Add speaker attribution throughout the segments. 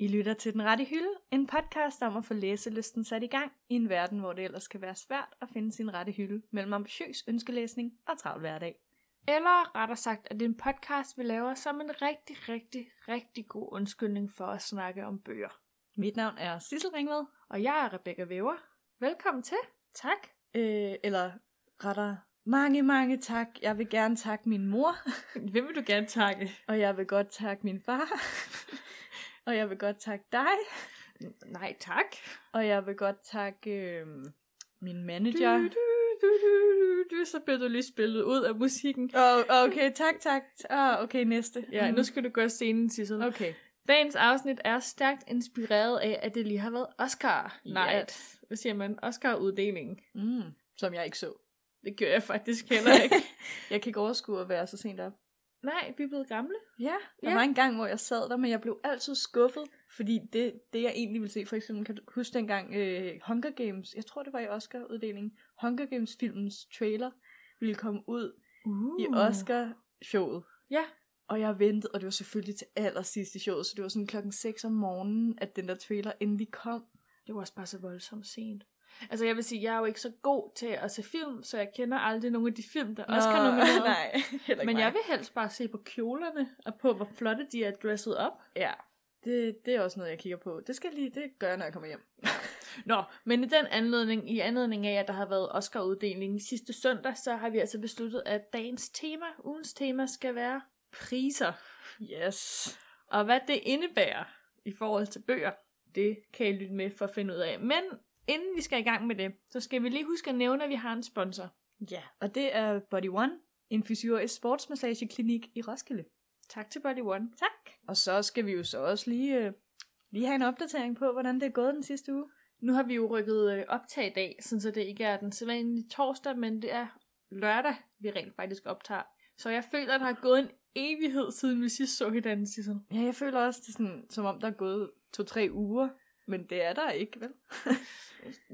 Speaker 1: lytter til Den Rette Hylde, en podcast om at få læselysten sat i gang i en verden, hvor det ellers kan være svært at finde sin rette hylde mellem ambitiøs ønskelæsning og travl hverdag.
Speaker 2: Eller rettere sagt, at det er en podcast, vi laver som en rigtig, rigtig, rigtig god undskyldning for at snakke om bøger.
Speaker 1: Mit navn er Sissel Ringved,
Speaker 2: Og jeg er Rebecca Væver. Velkommen til. Tak.
Speaker 1: øh, eller rettere mange, mange tak. Jeg vil gerne takke min mor,
Speaker 2: Hvem vil du gerne takke?
Speaker 1: og jeg vil godt takke min far, og jeg vil godt takke dig,
Speaker 2: Nej, tak.
Speaker 1: og jeg vil godt takke øh, min
Speaker 2: Du,
Speaker 1: manager.
Speaker 2: du, du, du, du, du. Så blev du lige spillet ud af musikken.
Speaker 1: Oh, okay, tak, tak. Oh, okay, næste.
Speaker 2: Ja, nu skal du gå af scenen, Sissel.
Speaker 1: Okay.
Speaker 2: Dagens afsnit er stærkt inspireret af, at det lige har været Oscar night.
Speaker 1: Yes.
Speaker 2: Hvad siger man? Oscar-uddelingen.
Speaker 1: Mm, som jeg ikke så.
Speaker 2: Det gør jeg faktisk heller ikke.
Speaker 1: Jeg kan ikke overskue at være så sent op.
Speaker 2: Nej, vi er blevet gamle.
Speaker 1: Ja, der
Speaker 2: Ja.
Speaker 1: var en gang, hvor jeg sad der, men jeg blev altid skuffet, fordi det, det jeg egentlig ville se, for eksempel, kan du huske dengang øh, Hunger Games, jeg tror det var i Oscar-uddelingen, Hunger Games-filmens trailer ville komme ud
Speaker 2: Uh.
Speaker 1: i Oscar-showet.
Speaker 2: Ja.
Speaker 1: Og jeg ventede, og det var selvfølgelig til allersidst i showet, så det var sådan klokken 6 om morgenen, at den der trailer endelig kom.
Speaker 2: Det var også bare så voldsomt sent. Altså jeg vil sige, jeg er jo ikke så god til at se film, så jeg kender aldrig nogen af de film, der også kan nomineret.
Speaker 1: nej, heller
Speaker 2: Men jeg vil helst bare se på kjolerne, og på hvor flotte de er dresset op.
Speaker 1: Ja, det, det er også noget, jeg kigger på. Det skal jeg lige, det gør jeg, når jeg kommer hjem.
Speaker 2: Nå, men i den anledning, i anledning af, at der har været Oscar-uddeling sidste søndag, så har vi altså besluttet, at dagens tema, ugens tema, skal være priser.
Speaker 1: Yes.
Speaker 2: Og hvad det indebærer i forhold til bøger, det kan I lytte med for at finde ud af. Men inden vi skal i gang med det, så skal vi lige huske at nævne, at vi har en sponsor.
Speaker 1: Ja, og det er Body One, en fysiorisk sportsmassageklinik i Roskilde.
Speaker 2: Tak til Body One.
Speaker 1: Tak. Og så skal vi jo så også lige, øh, lige have en opdatering på, hvordan det er gået den sidste uge.
Speaker 2: Nu har vi jo rykket øh, optag i dag, sådan så det ikke er den sædvanlige torsdag, men det er lørdag, vi rent faktisk optager. Så jeg føler, at der har gået en evighed, siden vi sidst så hinanden, Sissel.
Speaker 1: Ja, jeg føler også, det er sådan, som om der er gået to-tre uger, men det er der ikke, vel?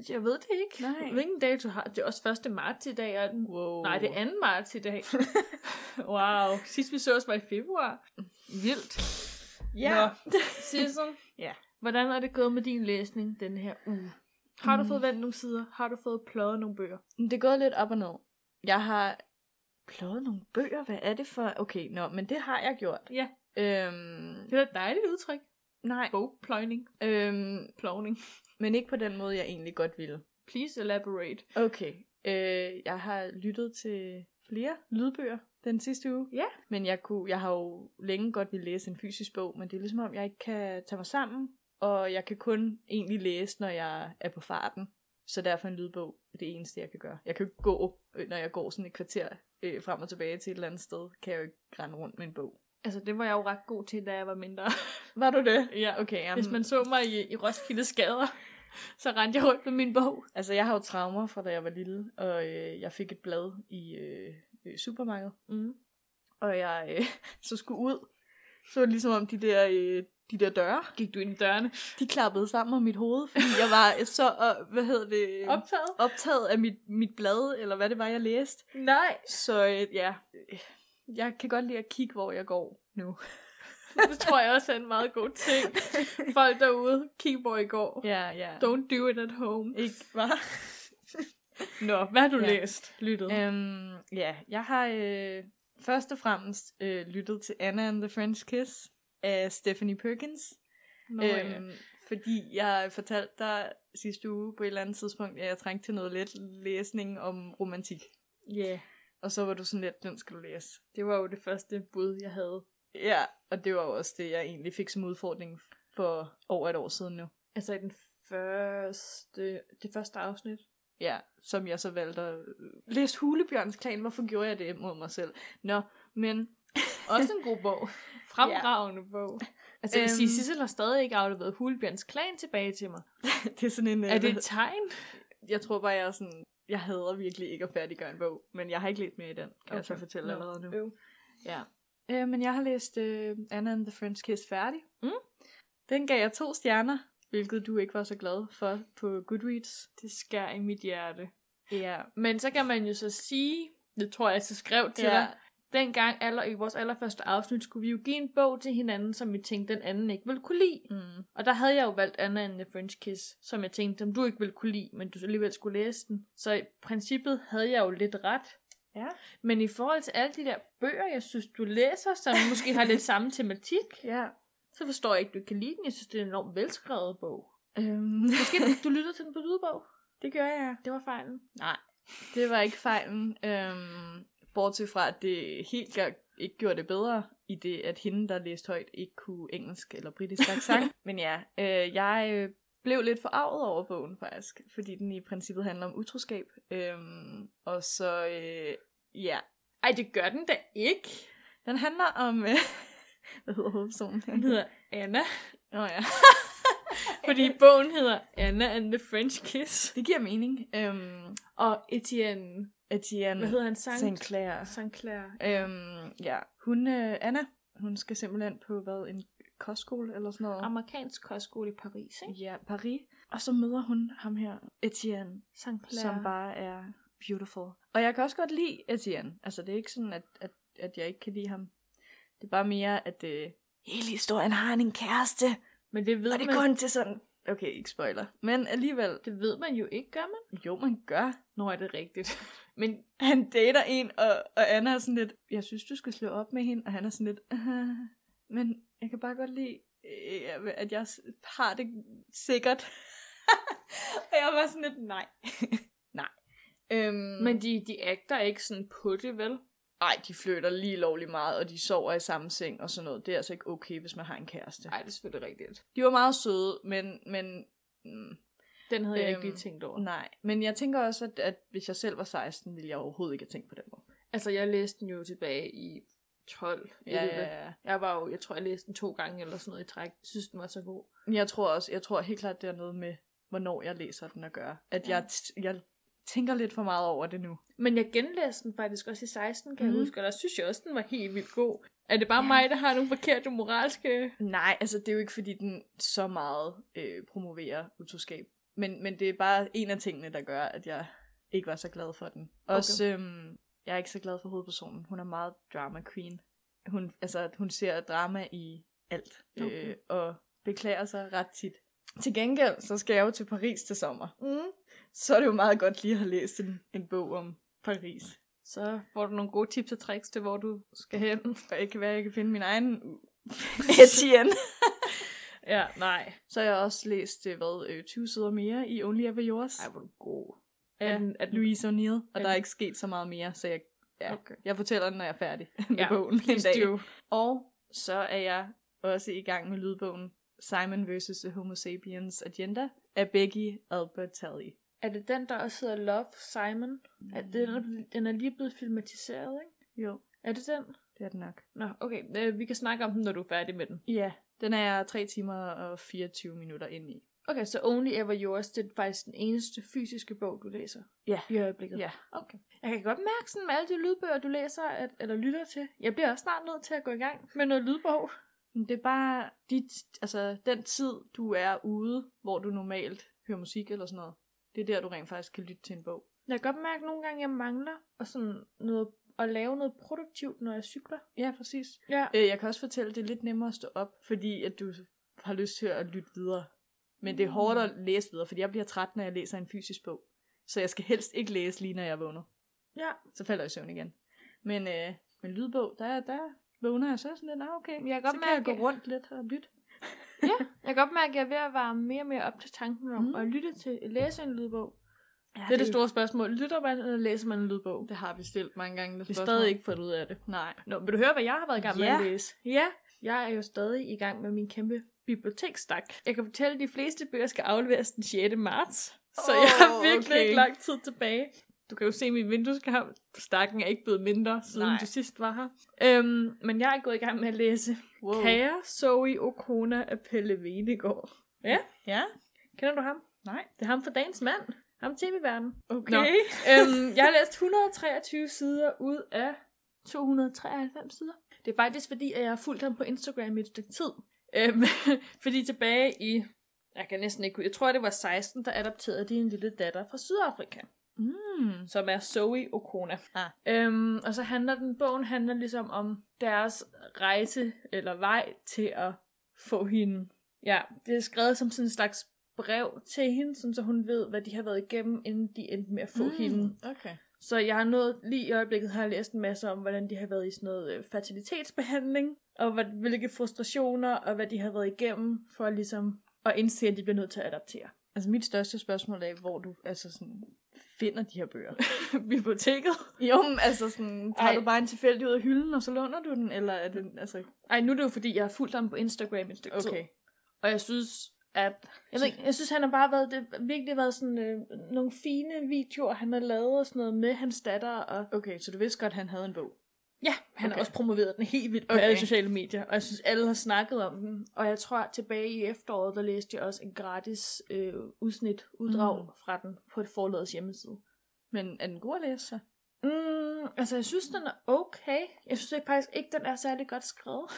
Speaker 2: Jeg ved det ikke.
Speaker 1: Nej.
Speaker 2: Hvilken dato har Det er også 1. marts i dag. Og den...
Speaker 1: Wow.
Speaker 2: Nej, det er 2. marts i dag. wow. Sidst vi så os var i februar. Vildt.
Speaker 1: Ja.
Speaker 2: Nå, Sissel.
Speaker 1: Ja.
Speaker 2: Hvordan er det gået med din læsning den her uge? Har du fået vendt nogle sider? Har du fået pløjet nogle bøger?
Speaker 1: Mm. Men Det er gået lidt op og ned. Jeg har pløjet nogle bøger. Hvad er det for? Okay, nå, men det har jeg gjort.
Speaker 2: Ja.
Speaker 1: Øhm,
Speaker 2: Det er da et dejligt udtryk.
Speaker 1: nej.
Speaker 2: Bogpløjning.
Speaker 1: Øhm,
Speaker 2: Plovning.
Speaker 1: men ikke på den måde, jeg egentlig godt ville.
Speaker 2: Please elaborate.
Speaker 1: Okay. Øh, jeg har lyttet til flere lydbøger den sidste uge.
Speaker 2: Ja.
Speaker 1: Men jeg, kunne, jeg har jo længe godt ville læse en fysisk bog, men det er ligesom om, jeg ikke kan tage mig sammen, og jeg kan kun egentlig læse, når jeg er på farten. Så derfor en lydbog er det eneste, jeg kan gøre. Jeg kan jo ikke gå, øh, når jeg går sådan et kvarter øh, frem og tilbage til et eller andet sted, kan jeg jo ikke rende rundt med en bog.
Speaker 2: Altså, det var jeg jo ret god til, da jeg var mindre.
Speaker 1: Var du det?
Speaker 2: ja,
Speaker 1: Okay, jamen,
Speaker 2: Hvis man så mig i, i Roskilde Skader, så rendte jeg rundt med min bog.
Speaker 1: altså jeg har jo traumer fra da jeg var lille, og øh, jeg fik et blad i øh, øh, supermarkedet,
Speaker 2: Mm.
Speaker 1: og jeg øh, så skulle ud, så var det ligesom om de der, øh, de der døre,
Speaker 2: Gik du ind i dørene?
Speaker 1: de klappede sammen om mit hoved, fordi jeg var så, øh, hvad hedder det,
Speaker 2: Optaget?
Speaker 1: optaget af mit, mit blad, eller hvad det var, jeg læste.
Speaker 2: Nej.
Speaker 1: Så øh, ja, øh, jeg kan godt lide at kigge, hvor jeg går nu.
Speaker 2: Det tror jeg også er en meget god ting. Folk derude, kig hvor I går.
Speaker 1: Ja, ja.
Speaker 2: Don't do it at home.
Speaker 1: Ikke, var.
Speaker 2: Nå, hvad har du
Speaker 1: Ja.
Speaker 2: læst? Lyttet.
Speaker 1: øhm, ja, jeg har øh, først og fremmest øh, lyttet til Anna and the French Kiss af Stephanie Perkins.
Speaker 2: Nå, ja.
Speaker 1: Øhm, fordi jeg fortalte dig sidste uge på et eller andet tidspunkt, at jeg trængte til noget let læsning om romantik.
Speaker 2: Ja.
Speaker 1: Og så var du sådan lidt, den skal du læse.
Speaker 2: Det var jo det første bud, jeg havde.
Speaker 1: Ja, og det var jo også det, jeg egentlig fik som udfordring for over et år siden nu.
Speaker 2: Altså i den første, det første afsnit.
Speaker 1: Ja, som jeg så valgte at øh, læse Hulebjørns Klan. Hvorfor gjorde jeg det mod mig selv? Nå, men
Speaker 2: Også en god bog. Fremragende ja. bog. Altså jeg vil
Speaker 1: Øhm.
Speaker 2: sige, Sissel har stadig ikke afleveret Hulbjørns klan tilbage til mig.
Speaker 1: det er sådan en...
Speaker 2: Er det et tegn?
Speaker 1: Jeg tror bare, jeg er sådan... Jeg hader virkelig ikke at færdiggøre en bog, men jeg har ikke læst mere i den, kan okay. jeg så fortælle
Speaker 2: Nå.
Speaker 1: allerede nu.
Speaker 2: Øv.
Speaker 1: Ja. Øh, men jeg har læst øh, Anna and the French Kiss færdig.
Speaker 2: Mm.
Speaker 1: Den gav jeg to stjerner, hvilket du ikke var så glad for på Goodreads.
Speaker 2: Det skærer i mit hjerte.
Speaker 1: Ja.
Speaker 2: Men så kan man jo så sige, det tror jeg, jeg så skrev til
Speaker 1: ja.
Speaker 2: dig, Dengang aller, i vores allerførste afsnit skulle vi jo give en bog til hinanden, som vi tænkte, den anden ikke ville kunne lide.
Speaker 1: Mm.
Speaker 2: Og der havde jeg jo valgt Anna and the French Kiss, som jeg tænkte, om du ikke ville kunne lide, men du alligevel skulle læse den. Så i princippet havde jeg jo lidt ret.
Speaker 1: Ja.
Speaker 2: Men i forhold til alle de der bøger, jeg synes, du læser, som måske har lidt samme tematik,
Speaker 1: Ja.
Speaker 2: så forstår jeg ikke, du ikke kan lide den. Jeg synes, det er en enormt velskrevet bog.
Speaker 1: Øhm,
Speaker 2: Måske du lyttede til den på lydbog?
Speaker 1: det gør jeg.
Speaker 2: Det var fejlen. Nej.
Speaker 1: Det var ikke fejlen. Øhm, bortset fra, at det helt klart ikke gjorde det bedre, i det, at hende, der læste højt, ikke kunne engelsk eller britisk accent. Men ja, øh, jeg øh, blev lidt forarvet over bogen faktisk, fordi den i princippet handler om utroskab. Øhm, og så, øh, ja,
Speaker 2: Ej, det gør den da ikke.
Speaker 1: den handler om, øh, hvad hedder hovedpersonen?
Speaker 2: Den hedder Anna.
Speaker 1: Nå ja.
Speaker 2: Fordi bogen hedder Anna and the French Kiss.
Speaker 1: Det giver mening. Øhm,
Speaker 2: Og Etienne,
Speaker 1: Etienne
Speaker 2: hvad hedder han? Sankt?
Speaker 1: St. Clair.
Speaker 2: Sankt Clair.
Speaker 1: Øhm, ja, hun, øh, Anna, hun skal simpelthen på, hvad, en kostskole eller sådan noget?
Speaker 2: Amerikansk kostskole i Paris, ikke?
Speaker 1: Ja, Paris. Og så møder hun ham her, Etienne,
Speaker 2: Sankt Clair.
Speaker 1: som bare er beautiful. Og jeg kan også godt lide Etienne. Altså, det er ikke sådan, at, at, at jeg ikke kan lide ham. Det er bare mere, at øh, hele historien har han en kæreste,
Speaker 2: Men det ved,
Speaker 1: og det er
Speaker 2: man,
Speaker 1: kun til sådan... Okay, ikke spoiler. Men alligevel,
Speaker 2: det ved man jo ikke, gør man?
Speaker 1: jo, man gør.
Speaker 2: Nå, er det rigtigt. Men
Speaker 1: Han dater en, og, og Anna er sådan lidt, jeg synes, du skal slå op med hende, og han er sådan lidt, "Ah, men jeg kan bare godt lide, øh, at jeg s- har det sikkert. og jeg var sådan lidt, nej. nej. Øhm,
Speaker 2: Men de, de agter ikke sådan på det, vel?
Speaker 1: Ej, de flytter lige lovlig meget, og de sover i samme seng og sådan noget. Det er altså ikke okay, hvis man har en kæreste.
Speaker 2: Nej, det er selvfølgelig rigtigt.
Speaker 1: De var meget søde, men, men mm,
Speaker 2: Den havde øhm, jeg
Speaker 1: Øhm,
Speaker 2: ikke lige tænkt over.
Speaker 1: nej. Men jeg tænker også, at, at hvis jeg selv var 16, ville jeg overhovedet ikke have tænkt på den måde.
Speaker 2: Altså, jeg læste den jo tilbage i 12.
Speaker 1: Ja,
Speaker 2: 11.
Speaker 1: ja, ja.
Speaker 2: Jeg var jo, jeg tror, jeg læste den to gange eller sådan noget i træk. Jeg synes, den var så god.
Speaker 1: Men Jeg tror også, jeg tror helt klart, det er noget med, hvornår jeg læser den at gøre. At
Speaker 2: Ja.
Speaker 1: jeg, t- jeg tænker lidt for meget over det nu.
Speaker 2: Men jeg genlæste den faktisk også i 16, kan mm. jeg
Speaker 1: Mhm.
Speaker 2: huske, og der synes jeg også, den var helt vildt god. Er det bare
Speaker 1: Ja.
Speaker 2: ja. mig, der har nogle forkerte moralske...
Speaker 1: Nej, altså det er jo ikke, fordi den så meget øh, promoverer utroskab. Men, men det er bare en af tingene, der gør, at jeg ikke var så glad for den. Også, øhm, jeg er ikke så glad for hovedpersonen. Hun er meget drama queen. Hun, altså, at hun ser drama i alt. Okay.
Speaker 2: Okay.
Speaker 1: Øh, og beklager sig ret tit. Til gengæld, så skal jeg jo til Paris til sommer.
Speaker 2: Mm.
Speaker 1: Så er det jo meget godt lige at have læst en, en bog om Paris.
Speaker 2: Så får du nogle gode tips og tricks til, hvor du skal hen.
Speaker 1: Og jeg kan være, jeg kan finde min egen Etienne.
Speaker 2: ja, nej.
Speaker 1: Så har jeg også læst, øh, hvad, øh, 20 sider mere i Only Ever Yours.
Speaker 2: Ej, hvor er du god.
Speaker 1: Ja,
Speaker 2: Er den, er den,
Speaker 1: Louise O'Neill. Og
Speaker 2: er
Speaker 1: der er
Speaker 2: den-
Speaker 1: ikke sket så meget mere, så jeg, ja,
Speaker 2: Okay.
Speaker 1: jeg fortæller den, når jeg er færdig med
Speaker 2: Ja,
Speaker 1: bogen en
Speaker 2: Please
Speaker 1: dag.
Speaker 2: do.
Speaker 1: Og så er jeg også i gang med lydbogen Simon vs. The Homo Sapiens Agenda af Becky Albertalli.
Speaker 2: Er det den, der også hedder Love, Simon? Er det, den, er- den er lige blevet filmatiseret, ikke?
Speaker 1: Jo,
Speaker 2: Er det den?
Speaker 1: det er den nok.
Speaker 2: Nå, okay. Øh, vi kan snakke om den, når du er færdig med den.
Speaker 1: Ja, den er jeg 3 timer og 24 minutter ind i.
Speaker 2: Okay, så Only Ever Yours, det er faktisk den eneste fysiske bog, du læser
Speaker 1: Ja.
Speaker 2: i øjeblikket?
Speaker 1: Ja.
Speaker 2: Okay. Jeg kan godt mærke sådan med alle de lydbøger, du læser at, eller lytter til. Jeg bliver også snart nødt til at gå i gang med noget lydbog.
Speaker 1: Men Det er bare dit, altså, den tid, du er ude, hvor du normalt hører musik eller sådan noget. Det er der, du rent faktisk kan lytte til en bog.
Speaker 2: Jeg kan godt mærke at nogle gange, jeg mangler og sådan noget, at lave noget produktivt, når jeg cykler.
Speaker 1: Ja, præcis.
Speaker 2: Ja.
Speaker 1: Øh, Jeg kan også fortælle, at det er lidt nemmere at stå op, fordi at du har lyst til at lytte videre. Men det er hårdt at læse videre, fordi jeg bliver træt, når jeg læser en fysisk bog. Så jeg skal helst ikke læse lige, når jeg vågner.
Speaker 2: Ja.
Speaker 1: Så falder jeg i søvn igen. Men øh, med lydbog, der, der vågner jeg så sådan lidt, ah, okay,
Speaker 2: Jeg kan godt
Speaker 1: så kan jeg
Speaker 2: mærke-
Speaker 1: gå rundt lidt og lytte.
Speaker 2: Jeg kan godt mærke, at jeg er ved at være mere og mere op til tanken om
Speaker 1: Mm.
Speaker 2: at lytte til, læse en lydbog.
Speaker 1: Ja,
Speaker 2: Det er det store spørgsmål. Lytter man, eller læser man en lydbog?
Speaker 1: Det har vi stillet mange gange. det
Speaker 2: Vi har
Speaker 1: spørgsmål.
Speaker 2: stadig ikke fundet ud af det.
Speaker 1: Nej.
Speaker 2: Nå, vil du høre, hvad jeg har været i gang med
Speaker 1: Ja.
Speaker 2: at læse? Ja. Jeg er jo stadig i gang med min kæmpe biblioteksstak. Jeg kan fortælle, at de fleste bøger skal afleveres den 6. marts. Så oh, jeg har
Speaker 1: Åh,
Speaker 2: virkelig
Speaker 1: okay.
Speaker 2: okay. ikke lang tid tilbage. Du kan jo se, at min vindueskarm stakken er ikke blevet mindre, siden
Speaker 1: Nej.
Speaker 2: Nej. du sidst var her. Øhm, men jeg er gået i gang med at læse
Speaker 1: Wow.
Speaker 2: Kære Zoe Okona af Pelle Venegård.
Speaker 1: Ja.
Speaker 2: Kender du ham?
Speaker 1: Nej.
Speaker 2: Det er ham fra Dagens Mand. Ham tv-verden.
Speaker 1: Okay.
Speaker 2: Nå. øhm, jeg har læst 123 sider ud af 293 sider. Det er faktisk fordi, at jeg har fulgt ham på Instagram i et stykke tid. Øhm, fordi tilbage i, jeg kan næsten ikke, hu- jeg tror det var 16, der adopterede de en lille datter fra Sydafrika.
Speaker 1: Mm. Mm.
Speaker 2: som er Zoe Okona.
Speaker 1: Ah.
Speaker 2: Øhm, og så handler den, bogen handler ligesom om deres rejse eller vej til at få hende. Ja, det er skrevet som sådan en slags brev til hende, sådan så hun ved, hvad de har været igennem, inden de endte med at få mm. hende.
Speaker 1: Okay.
Speaker 2: Så jeg har nået, lige i øjeblikket har jeg læst en masse om, hvordan de har været i sådan noget øh, fertilitetsbehandling, og hvad, hvilke frustrationer, og hvad de har været igennem, for ligesom at indse, at de bliver nødt til at adaptere.
Speaker 1: Altså mit største spørgsmål er, hvor du altså sådan, finder de her bøger.
Speaker 2: Biblioteket.
Speaker 1: jo, men altså sådan, tager
Speaker 2: Ej.
Speaker 1: Ej. du bare en tilfældig ud af hylden, og så låner du den, eller er det, altså,
Speaker 2: Ej, nu er det jo fordi, jeg har fulgt ham på Instagram et stykke tid.
Speaker 1: okay.
Speaker 2: Og jeg synes, at... Jeg, ved, ikke, jeg synes, han har bare været... Det har virkelig været sådan øh, nogle fine videoer, han har lavet og sådan noget med hans datter. Og
Speaker 1: Okay, så du vidste godt, at han havde en bog.
Speaker 2: ja, han okay. har
Speaker 1: Okay.
Speaker 2: også promoveret den helt vildt på okay.
Speaker 1: Okay.
Speaker 2: alle sociale medier. Og jeg synes, alle har snakket om den. Og jeg tror, at tilbage i efteråret, der læste jeg også en gratis øh, udsnit, uddrag mm.
Speaker 1: Mm.
Speaker 2: fra den på et forlagets hjemmeside.
Speaker 1: Men er den god at læse så?
Speaker 2: Mm, altså, jeg synes, den er okay. Jeg synes ikke, faktisk ikke, den er særlig godt skrevet.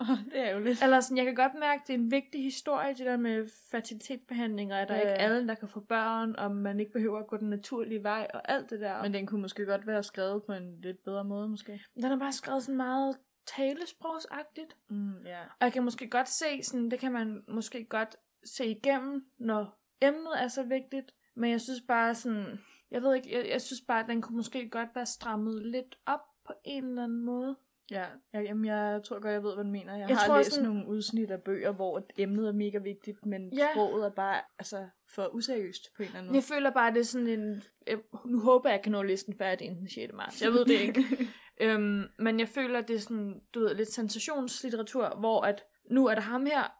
Speaker 1: Oh, det er jo lidt.
Speaker 2: Eller sådan, jeg kan godt mærke, at det er en vigtig historie, det der med fertilitetsbehandlinger, at der ja.
Speaker 1: Ja.
Speaker 2: ikke er alle, der kan få børn, og man ikke behøver at gå den naturlige vej, og alt det der.
Speaker 1: Men
Speaker 2: Men
Speaker 1: den kunne måske godt være skrevet på en lidt bedre måde, måske.
Speaker 2: den er bare skrevet sådan meget talesprogsagtigt.
Speaker 1: Mm, ja.
Speaker 2: Og jeg kan måske godt se, sådan, det kan man måske godt se igennem, når emnet er så vigtigt. Men jeg synes bare sådan, jeg ved ikke, jeg, jeg synes bare, at den kunne måske godt være strammet lidt op på en eller anden måde.
Speaker 1: Ja, jeg, jamen, jeg tror godt, jeg ved, hvad du mener. Jeg,
Speaker 2: Jeg
Speaker 1: jeg har
Speaker 2: tror
Speaker 1: tror, læst
Speaker 2: sådan-
Speaker 1: sådan... nogle udsnit af bøger, hvor emnet er mega vigtigt, men
Speaker 2: Ja.
Speaker 1: ja. sproget er bare altså, for useriøst på en eller anden måde.
Speaker 2: Jeg føler bare, at det er sådan en... Jeg, nu håber jeg, at jeg kan nå listen færdig inden den 6. marts. Jeg ved det ikke. øhm, men jeg føler, at det er sådan, du ved, lidt sensationslitteratur, hvor at nu er der ham her,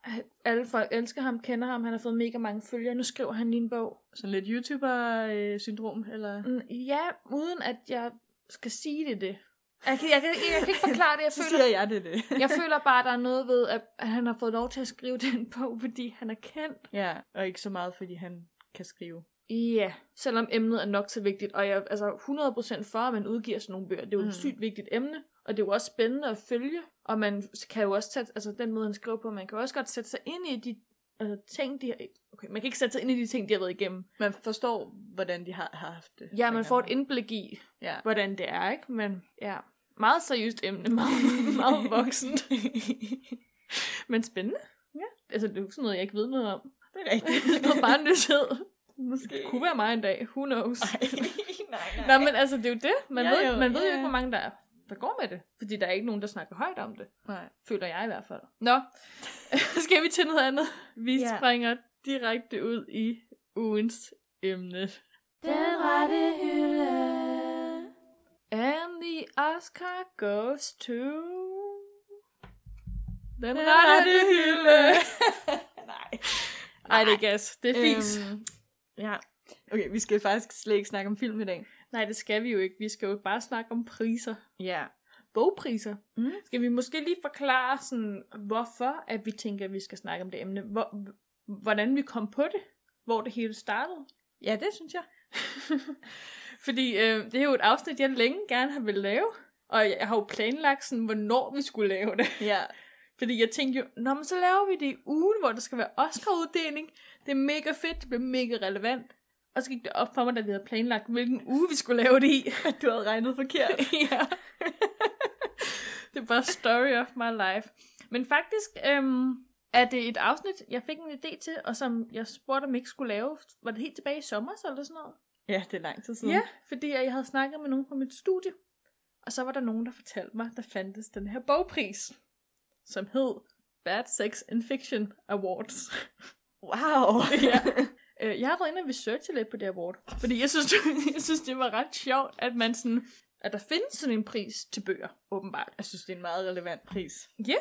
Speaker 2: alle folk elsker ham, kender ham, han har fået mega mange følgere, nu skriver han lige en bog.
Speaker 1: Sådan lidt YouTuber-syndrom, eller?
Speaker 2: Mm, Ja, uden at jeg skal sige det det. Jeg kan, jeg kan, jeg kan ikke forklare det, jeg
Speaker 1: Så
Speaker 2: føler,
Speaker 1: siger jeg det, det.
Speaker 2: jeg føler bare, at der er noget ved, at, at han har fået lov til at skrive den bog, fordi han er kendt.
Speaker 1: ja, og ikke så meget, fordi han kan skrive.
Speaker 2: Ja, yeah. selvom emnet er nok så vigtigt, og jeg er altså 100% for, at man udgiver sådan nogle bøger. Det er jo mm.
Speaker 1: Mm.
Speaker 2: et sygt vigtigt emne, og det er jo også spændende at følge, og man kan jo også sætte, altså den måde, han skriver på, man kan jo også godt sætte sig ind i de altså, ting, de har, okay, man kan ikke sætte sig ind i de ting, de har været igennem.
Speaker 1: Man forstår, hvordan de har har haft det.
Speaker 2: Ja, man får et indblik i,
Speaker 1: Ja.
Speaker 2: hvordan det er, ikke? Men ja, meget seriøst emne, meget, meget voksent. Men spændende. Ja. Altså, det er jo ikke sådan noget, jeg ikke ved noget om.
Speaker 1: Det er rigtigt.
Speaker 2: Det var bare en nysgerrighed.
Speaker 1: Måske.
Speaker 2: Det kunne være mig en dag, who knows.
Speaker 1: Ej, nej, nej.
Speaker 2: Nå, men altså, det er jo det. Man, ja,
Speaker 1: Ja,
Speaker 2: ved, jo,
Speaker 1: jo,
Speaker 2: man ved jo
Speaker 1: ja,
Speaker 2: ikke,
Speaker 1: ja.
Speaker 2: hvor mange der er, der går med det. Fordi der er ikke nogen, der snakker højt om det.
Speaker 1: nej.
Speaker 2: Føler jeg i hvert fald. Nå, skal vi til noget andet? Vi ja.
Speaker 1: Ja.
Speaker 2: springer direkte ud i ugens emne.
Speaker 3: Den rette hylde.
Speaker 2: And the Oscar goes to... Den, Den rette,
Speaker 1: rette
Speaker 2: hylde.
Speaker 1: nej.
Speaker 2: Ej, det er gas. Det er fint. Øhm.
Speaker 1: Øhm, ja. Okay, vi skal faktisk slet ikke snakke om film i dag.
Speaker 2: Nej, det skal vi jo ikke. Vi skal jo bare snakke om priser.
Speaker 1: Ja.
Speaker 2: bogpriser. Mm.
Speaker 1: Mm.
Speaker 2: Skal vi måske lige forklare, sådan, hvorfor at vi tænker, at vi skal snakke om det emne? Hvor, hvordan vi kom på det? Hvor det hele startede?
Speaker 1: Ja, det synes jeg.
Speaker 2: Fordi øh, det er jo et afsnit, jeg længe gerne har ville lave. Og jeg har jo planlagt, sådan, hvornår vi skulle lave det.
Speaker 1: Ja.
Speaker 2: Fordi jeg tænkte jo, Nå, men så laver vi det i ugen, hvor der skal være Oscar-uddeling. Det er mega fedt, det bliver mega relevant. Og så gik det op for mig, da vi havde planlagt, hvilken uge vi skulle lave det i.
Speaker 1: Du havde regnet forkert.
Speaker 2: ja. det er bare story of my life. Men faktisk øhm, er det et afsnit, jeg fik en idé til, og som jeg spurgte, om jeg ikke skulle lave. Var det helt tilbage i sommer så eller sådan noget?
Speaker 1: ja, det er lang tid siden.
Speaker 2: Ja, fordi jeg havde snakket med nogen fra mit studie. Og så var der nogen, der fortalte mig, der fandtes den her bogpris, som hed Bad Sex and Fiction Awards.
Speaker 1: Wow.
Speaker 2: ja. Øh, Jeg har været inde og researche lidt på det award, fordi jeg synes, jeg synes, det var ret sjovt, at man sådan, at der findes sådan en pris til bøger, åbenbart.
Speaker 1: Jeg synes, det er en meget relevant pris.
Speaker 2: Ja.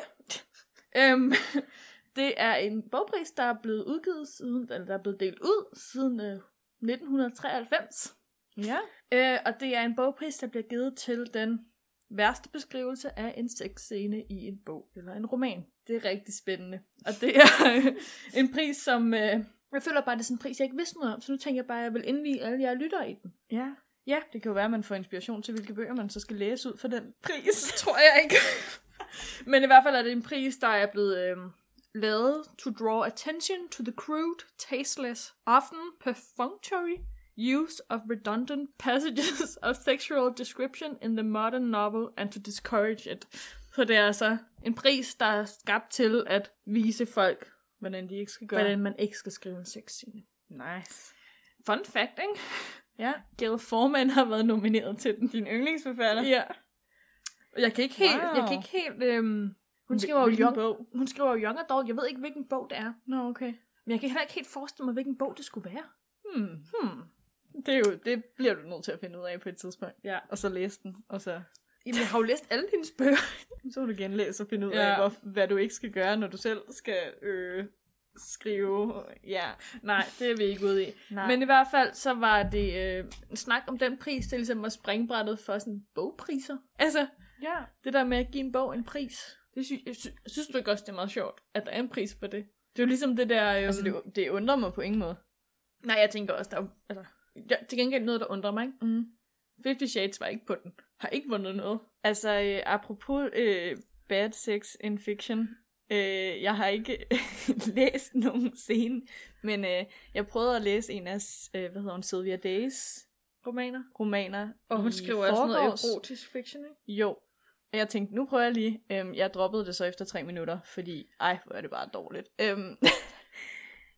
Speaker 2: Yeah. øhm, det er en bogpris, der er blevet udgivet siden, eller der er blevet delt ud siden øh, 1993.
Speaker 1: Ja.
Speaker 2: Øh, og det er en bogpris, der bliver givet til den værste beskrivelse af en sexscene i en bog eller en roman. Det er rigtig spændende. Og det er øh, en pris, som... Øh, jeg føler bare, det er sådan en pris, jeg ikke vidste noget om, så nu tænker jeg bare, at jeg vil indvige alle jer lyttere i den.
Speaker 1: Ja. Ja, det kan jo være, at man får inspiration til, hvilke bøger man så skal læse ud for den pris.
Speaker 2: Det tror jeg ikke. Men i hvert fald er det en pris, der er blevet øhm, lavet to draw attention to the crude, tasteless, often perfunctory use of redundant passages of sexual description in the modern novel and to discourage it. Så det er altså en pris, der er skabt til at vise folk,
Speaker 1: Hvordan de ikke skal gøre.
Speaker 2: hvordan man ikke skal skrive en sexscene.
Speaker 1: Nice.
Speaker 2: Fun fact, ikke?
Speaker 1: Ja.
Speaker 2: Gail Forman har været nomineret til den.
Speaker 1: Din yndlingsforfatter.
Speaker 2: Ja. Jeg kan ikke helt... Wow. Jeg kan
Speaker 1: Wow.
Speaker 2: ikke helt øhm, hun,
Speaker 1: Hvil-
Speaker 2: skriver jo
Speaker 1: hvilken
Speaker 2: young,
Speaker 1: bog?
Speaker 2: hun skriver jo young adult. Jeg ved ikke, hvilken bog det er.
Speaker 1: Nå, okay.
Speaker 2: Men jeg kan heller ikke helt forestille mig, hvilken bog det skulle være.
Speaker 1: Hmm.
Speaker 2: Hmm.
Speaker 1: Det, er jo, det bliver du nødt til at finde ud af på et tidspunkt.
Speaker 2: Ja.
Speaker 1: Og så læse den, og så,
Speaker 2: Jamen, jeg har jo læst alle hendes bøger.
Speaker 1: så vil du genlæse og finde ud
Speaker 2: Ja.
Speaker 1: af, hvor, hvad du ikke skal gøre, når du selv skal øh, skrive. Ja.
Speaker 2: Nej, det er vi ikke ude i.
Speaker 1: Nej.
Speaker 2: Men i hvert fald, så var det øh, en snak om den pris, det ligesom var springbrættet for sådan bogpriser. Altså,
Speaker 1: ja.
Speaker 2: det der med at give en bog en pris. Det sy- jeg sy- synes du ikke også, det er meget sjovt, at der er en pris på det? Det er jo ligesom det der... Øh,
Speaker 1: Altså, det, det undrer mig på ingen måde.
Speaker 2: Nej, jeg tænker også, der er, altså, ja, til gengæld noget, der undrer mig. Ikke?
Speaker 1: Mm.
Speaker 2: Fifty Shades var ikke på den. Har ikke vundet noget.
Speaker 1: Altså, øh, apropos øh, bad sex in fiction, øh, jeg har ikke læst nogen scene, men øh, jeg prøvede at læse en af, s- øh, hvad hedder hun, Sylvia Days
Speaker 2: Romaner.
Speaker 1: romaner.
Speaker 2: Og hun
Speaker 1: i
Speaker 2: skriver også noget
Speaker 1: forgårs.
Speaker 2: erotisk fiction, ikke?
Speaker 1: Jo. Og jeg tænkte, nu prøver jeg lige. Øhm, jeg droppede det så efter tre minutter, fordi, ej, hvor er det bare dårligt. Øhm,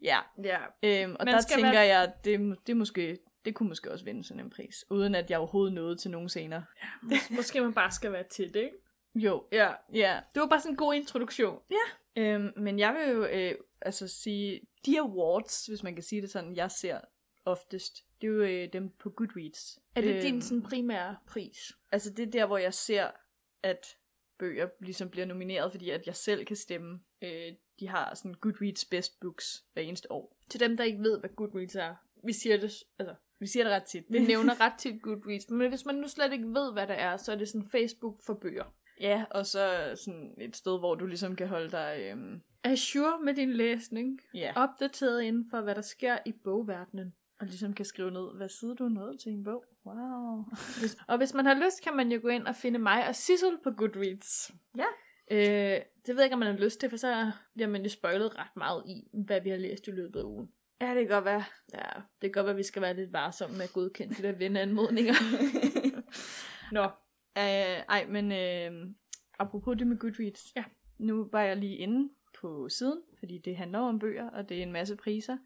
Speaker 1: ja,
Speaker 2: Ja.
Speaker 1: øhm, og
Speaker 2: Man
Speaker 1: der
Speaker 2: skal
Speaker 1: tænker
Speaker 2: være-
Speaker 1: jeg, det, må- det, måske, det kunne måske også vinde sådan en pris, uden at jeg overhovedet nåede til nogen senere.
Speaker 2: Mås- måske man bare skal være til det, ikke?
Speaker 1: Jo,
Speaker 2: Ja.
Speaker 1: ja.
Speaker 2: Det var bare sådan en god introduktion.
Speaker 1: Øhm, men jeg vil jo øh, altså sige, de awards, hvis man kan sige det sådan, jeg ser oftest, det er jo øh, dem på Goodreads.
Speaker 2: Er det
Speaker 1: Øhm,
Speaker 2: din sådan, primære pris?
Speaker 1: Altså det er der, hvor jeg ser, at bøger ligesom bliver nomineret, fordi at jeg selv kan stemme. Øh, de har sådan Goodreads Best Books hver eneste år.
Speaker 2: Til dem, der ikke ved, hvad Goodreads er. Vi siger det, s- altså,
Speaker 1: Vi siger det ret tit.
Speaker 2: vi nævner ret tit Goodreads, men hvis man nu slet ikke ved, hvad det er, så er det sådan Facebook for bøger.
Speaker 1: ja, og så sådan et sted, hvor du ligesom kan holde dig... Øhm,
Speaker 2: Assure med din læsning.
Speaker 1: ja.
Speaker 2: Opdateret inden for, hvad der sker i bogverdenen.
Speaker 1: Og ligesom kan skrive ned, hvad side du er nået til i en bog. Wow.
Speaker 2: Og hvis man har lyst, kan man jo gå ind og finde mig og Sissel på Goodreads.
Speaker 1: Ja.
Speaker 2: Øh, det ved jeg ikke, om man har lyst til, for så bliver man jo spoilet ret meget i, hvad vi har læst i løbet af ugen.
Speaker 1: Ja, det kan godt være.
Speaker 2: Ja, det kan godt være, at vi skal være lidt varsomme med at godkende de der venneanmodninger. Nå,
Speaker 1: Øh, ej, men øh, apropos det med Goodreads.
Speaker 2: Ja.
Speaker 1: Nu var jeg lige inde på siden, fordi det handler om bøger, og det er en masse priser.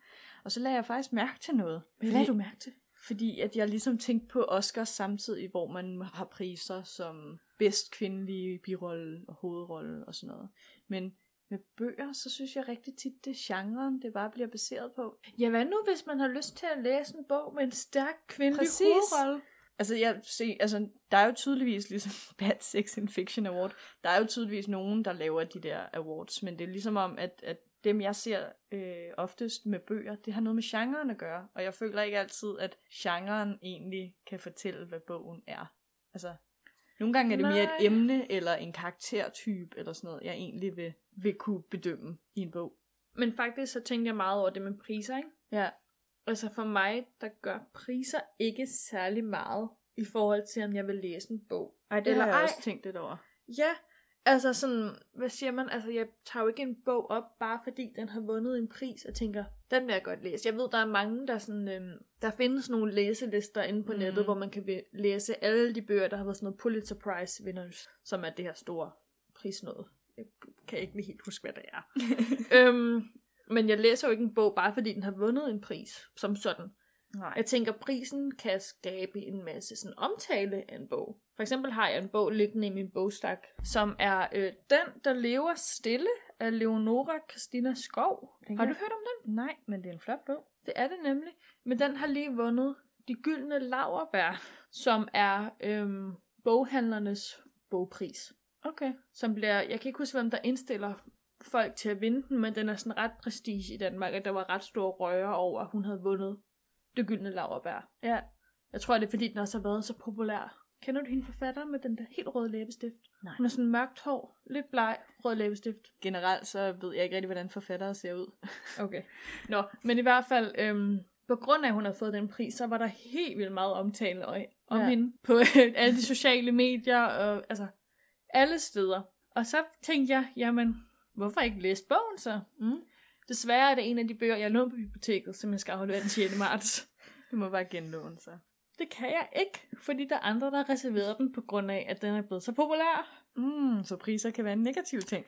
Speaker 1: Og så lagde jeg faktisk mærke til noget.
Speaker 2: hvad
Speaker 1: Fordi-
Speaker 2: lagde du mærke til?
Speaker 1: Fordi at jeg ligesom tænkte på Oscars samtidig, hvor man har priser som bedst kvindelige birolle og hovedrolle og sådan noget. Men med bøger, så synes jeg rigtig tit, det er genren, det bare bliver baseret på.
Speaker 2: Ja, hvad nu, hvis man har lyst til at læse en bog med en stærk kvindelig
Speaker 1: Præcis.
Speaker 2: hovedrolle?
Speaker 1: Altså, jeg se, altså, der er jo tydeligvis, ligesom Bad Sex in Fiction Award, der er jo tydeligvis nogen, der laver de der awards, men det er ligesom om, at, at dem, jeg ser øh, oftest med bøger, det har noget med genren at gøre, og jeg føler ikke altid, at genren egentlig kan fortælle, hvad bogen er. Altså, nogle gange er det mere
Speaker 2: Nej.
Speaker 1: et emne, eller en karaktertype, eller sådan noget, jeg egentlig vil, vil kunne bedømme i en bog.
Speaker 2: Men faktisk så tænkte jeg meget over det med priser, ikke?
Speaker 1: Ja,
Speaker 2: Altså for mig, der gør priser ikke særlig meget i forhold til, om jeg vil læse en bog.
Speaker 1: Ej, det
Speaker 2: Eller
Speaker 1: har jeg
Speaker 2: ej.
Speaker 1: også tænkt lidt over.
Speaker 2: Ja, altså sådan, hvad siger man? Altså jeg tager jo ikke en bog op, bare fordi den har vundet en pris, og tænker, den vil jeg godt læse. Jeg ved, der er mange, der sådan, øhm, der findes nogle læselister inde på mm.
Speaker 1: Mhm.
Speaker 2: nettet, hvor man kan vi- læse alle de bøger, der har været sådan noget Pulitzer Prize winners, som er det her store prisnåde. Jeg kan ikke lige helt huske, hvad det er. øhm, men jeg læser jo ikke en bog, bare fordi den har vundet en pris, som sådan.
Speaker 1: Nej.
Speaker 2: Jeg tænker, prisen kan skabe en masse sådan, omtale af en bog. For eksempel har jeg en bog liggende i min bogstak, som er øh, Den, der lever stille af Leonora Christina Skov.
Speaker 1: Den
Speaker 2: Har du
Speaker 1: kan-
Speaker 2: hørt om den?
Speaker 1: Nej, men det er en flot bog.
Speaker 2: Det er det nemlig. Men den har lige vundet De Gyldne Laverbær, som er øhm, boghandlernes bogpris.
Speaker 1: Okay.
Speaker 2: Som bliver, jeg kan ikke huske, hvem der indstiller folk til at vinde den, men den er sådan ret prestige i Danmark, at der var ret store røger over, at hun havde vundet Det Gyldne Laverbær.
Speaker 1: Ja,
Speaker 2: Jeg tror, det er fordi, den også har været så populær. Kender du hende forfatter med den der helt røde læbestift?
Speaker 1: Nej.
Speaker 2: Hun har sådan mørkt hår, lidt bleg, rød læbestift.
Speaker 1: generelt så ved jeg ikke rigtig, hvordan forfattere ser ud.
Speaker 2: Okay. Nå, men i hvert fald, øhm, på grund af, at hun har fået den pris, så var der helt vildt meget omtale om ja.
Speaker 1: Ja.
Speaker 2: hende på øh, alle de sociale medier og altså alle steder. Og så tænkte jeg, jamen, hvorfor ikke læse bogen så?
Speaker 1: Mm.
Speaker 2: Desværre er det en af de bøger, jeg lånte på biblioteket, som jeg skal aflevere den 6. marts.
Speaker 1: Du må bare genlåne sig.
Speaker 2: Det kan jeg ikke, fordi der er andre, der har reserveret den på grund af, at den er blevet så populær.
Speaker 1: Mm, så priser kan være en negativ ting.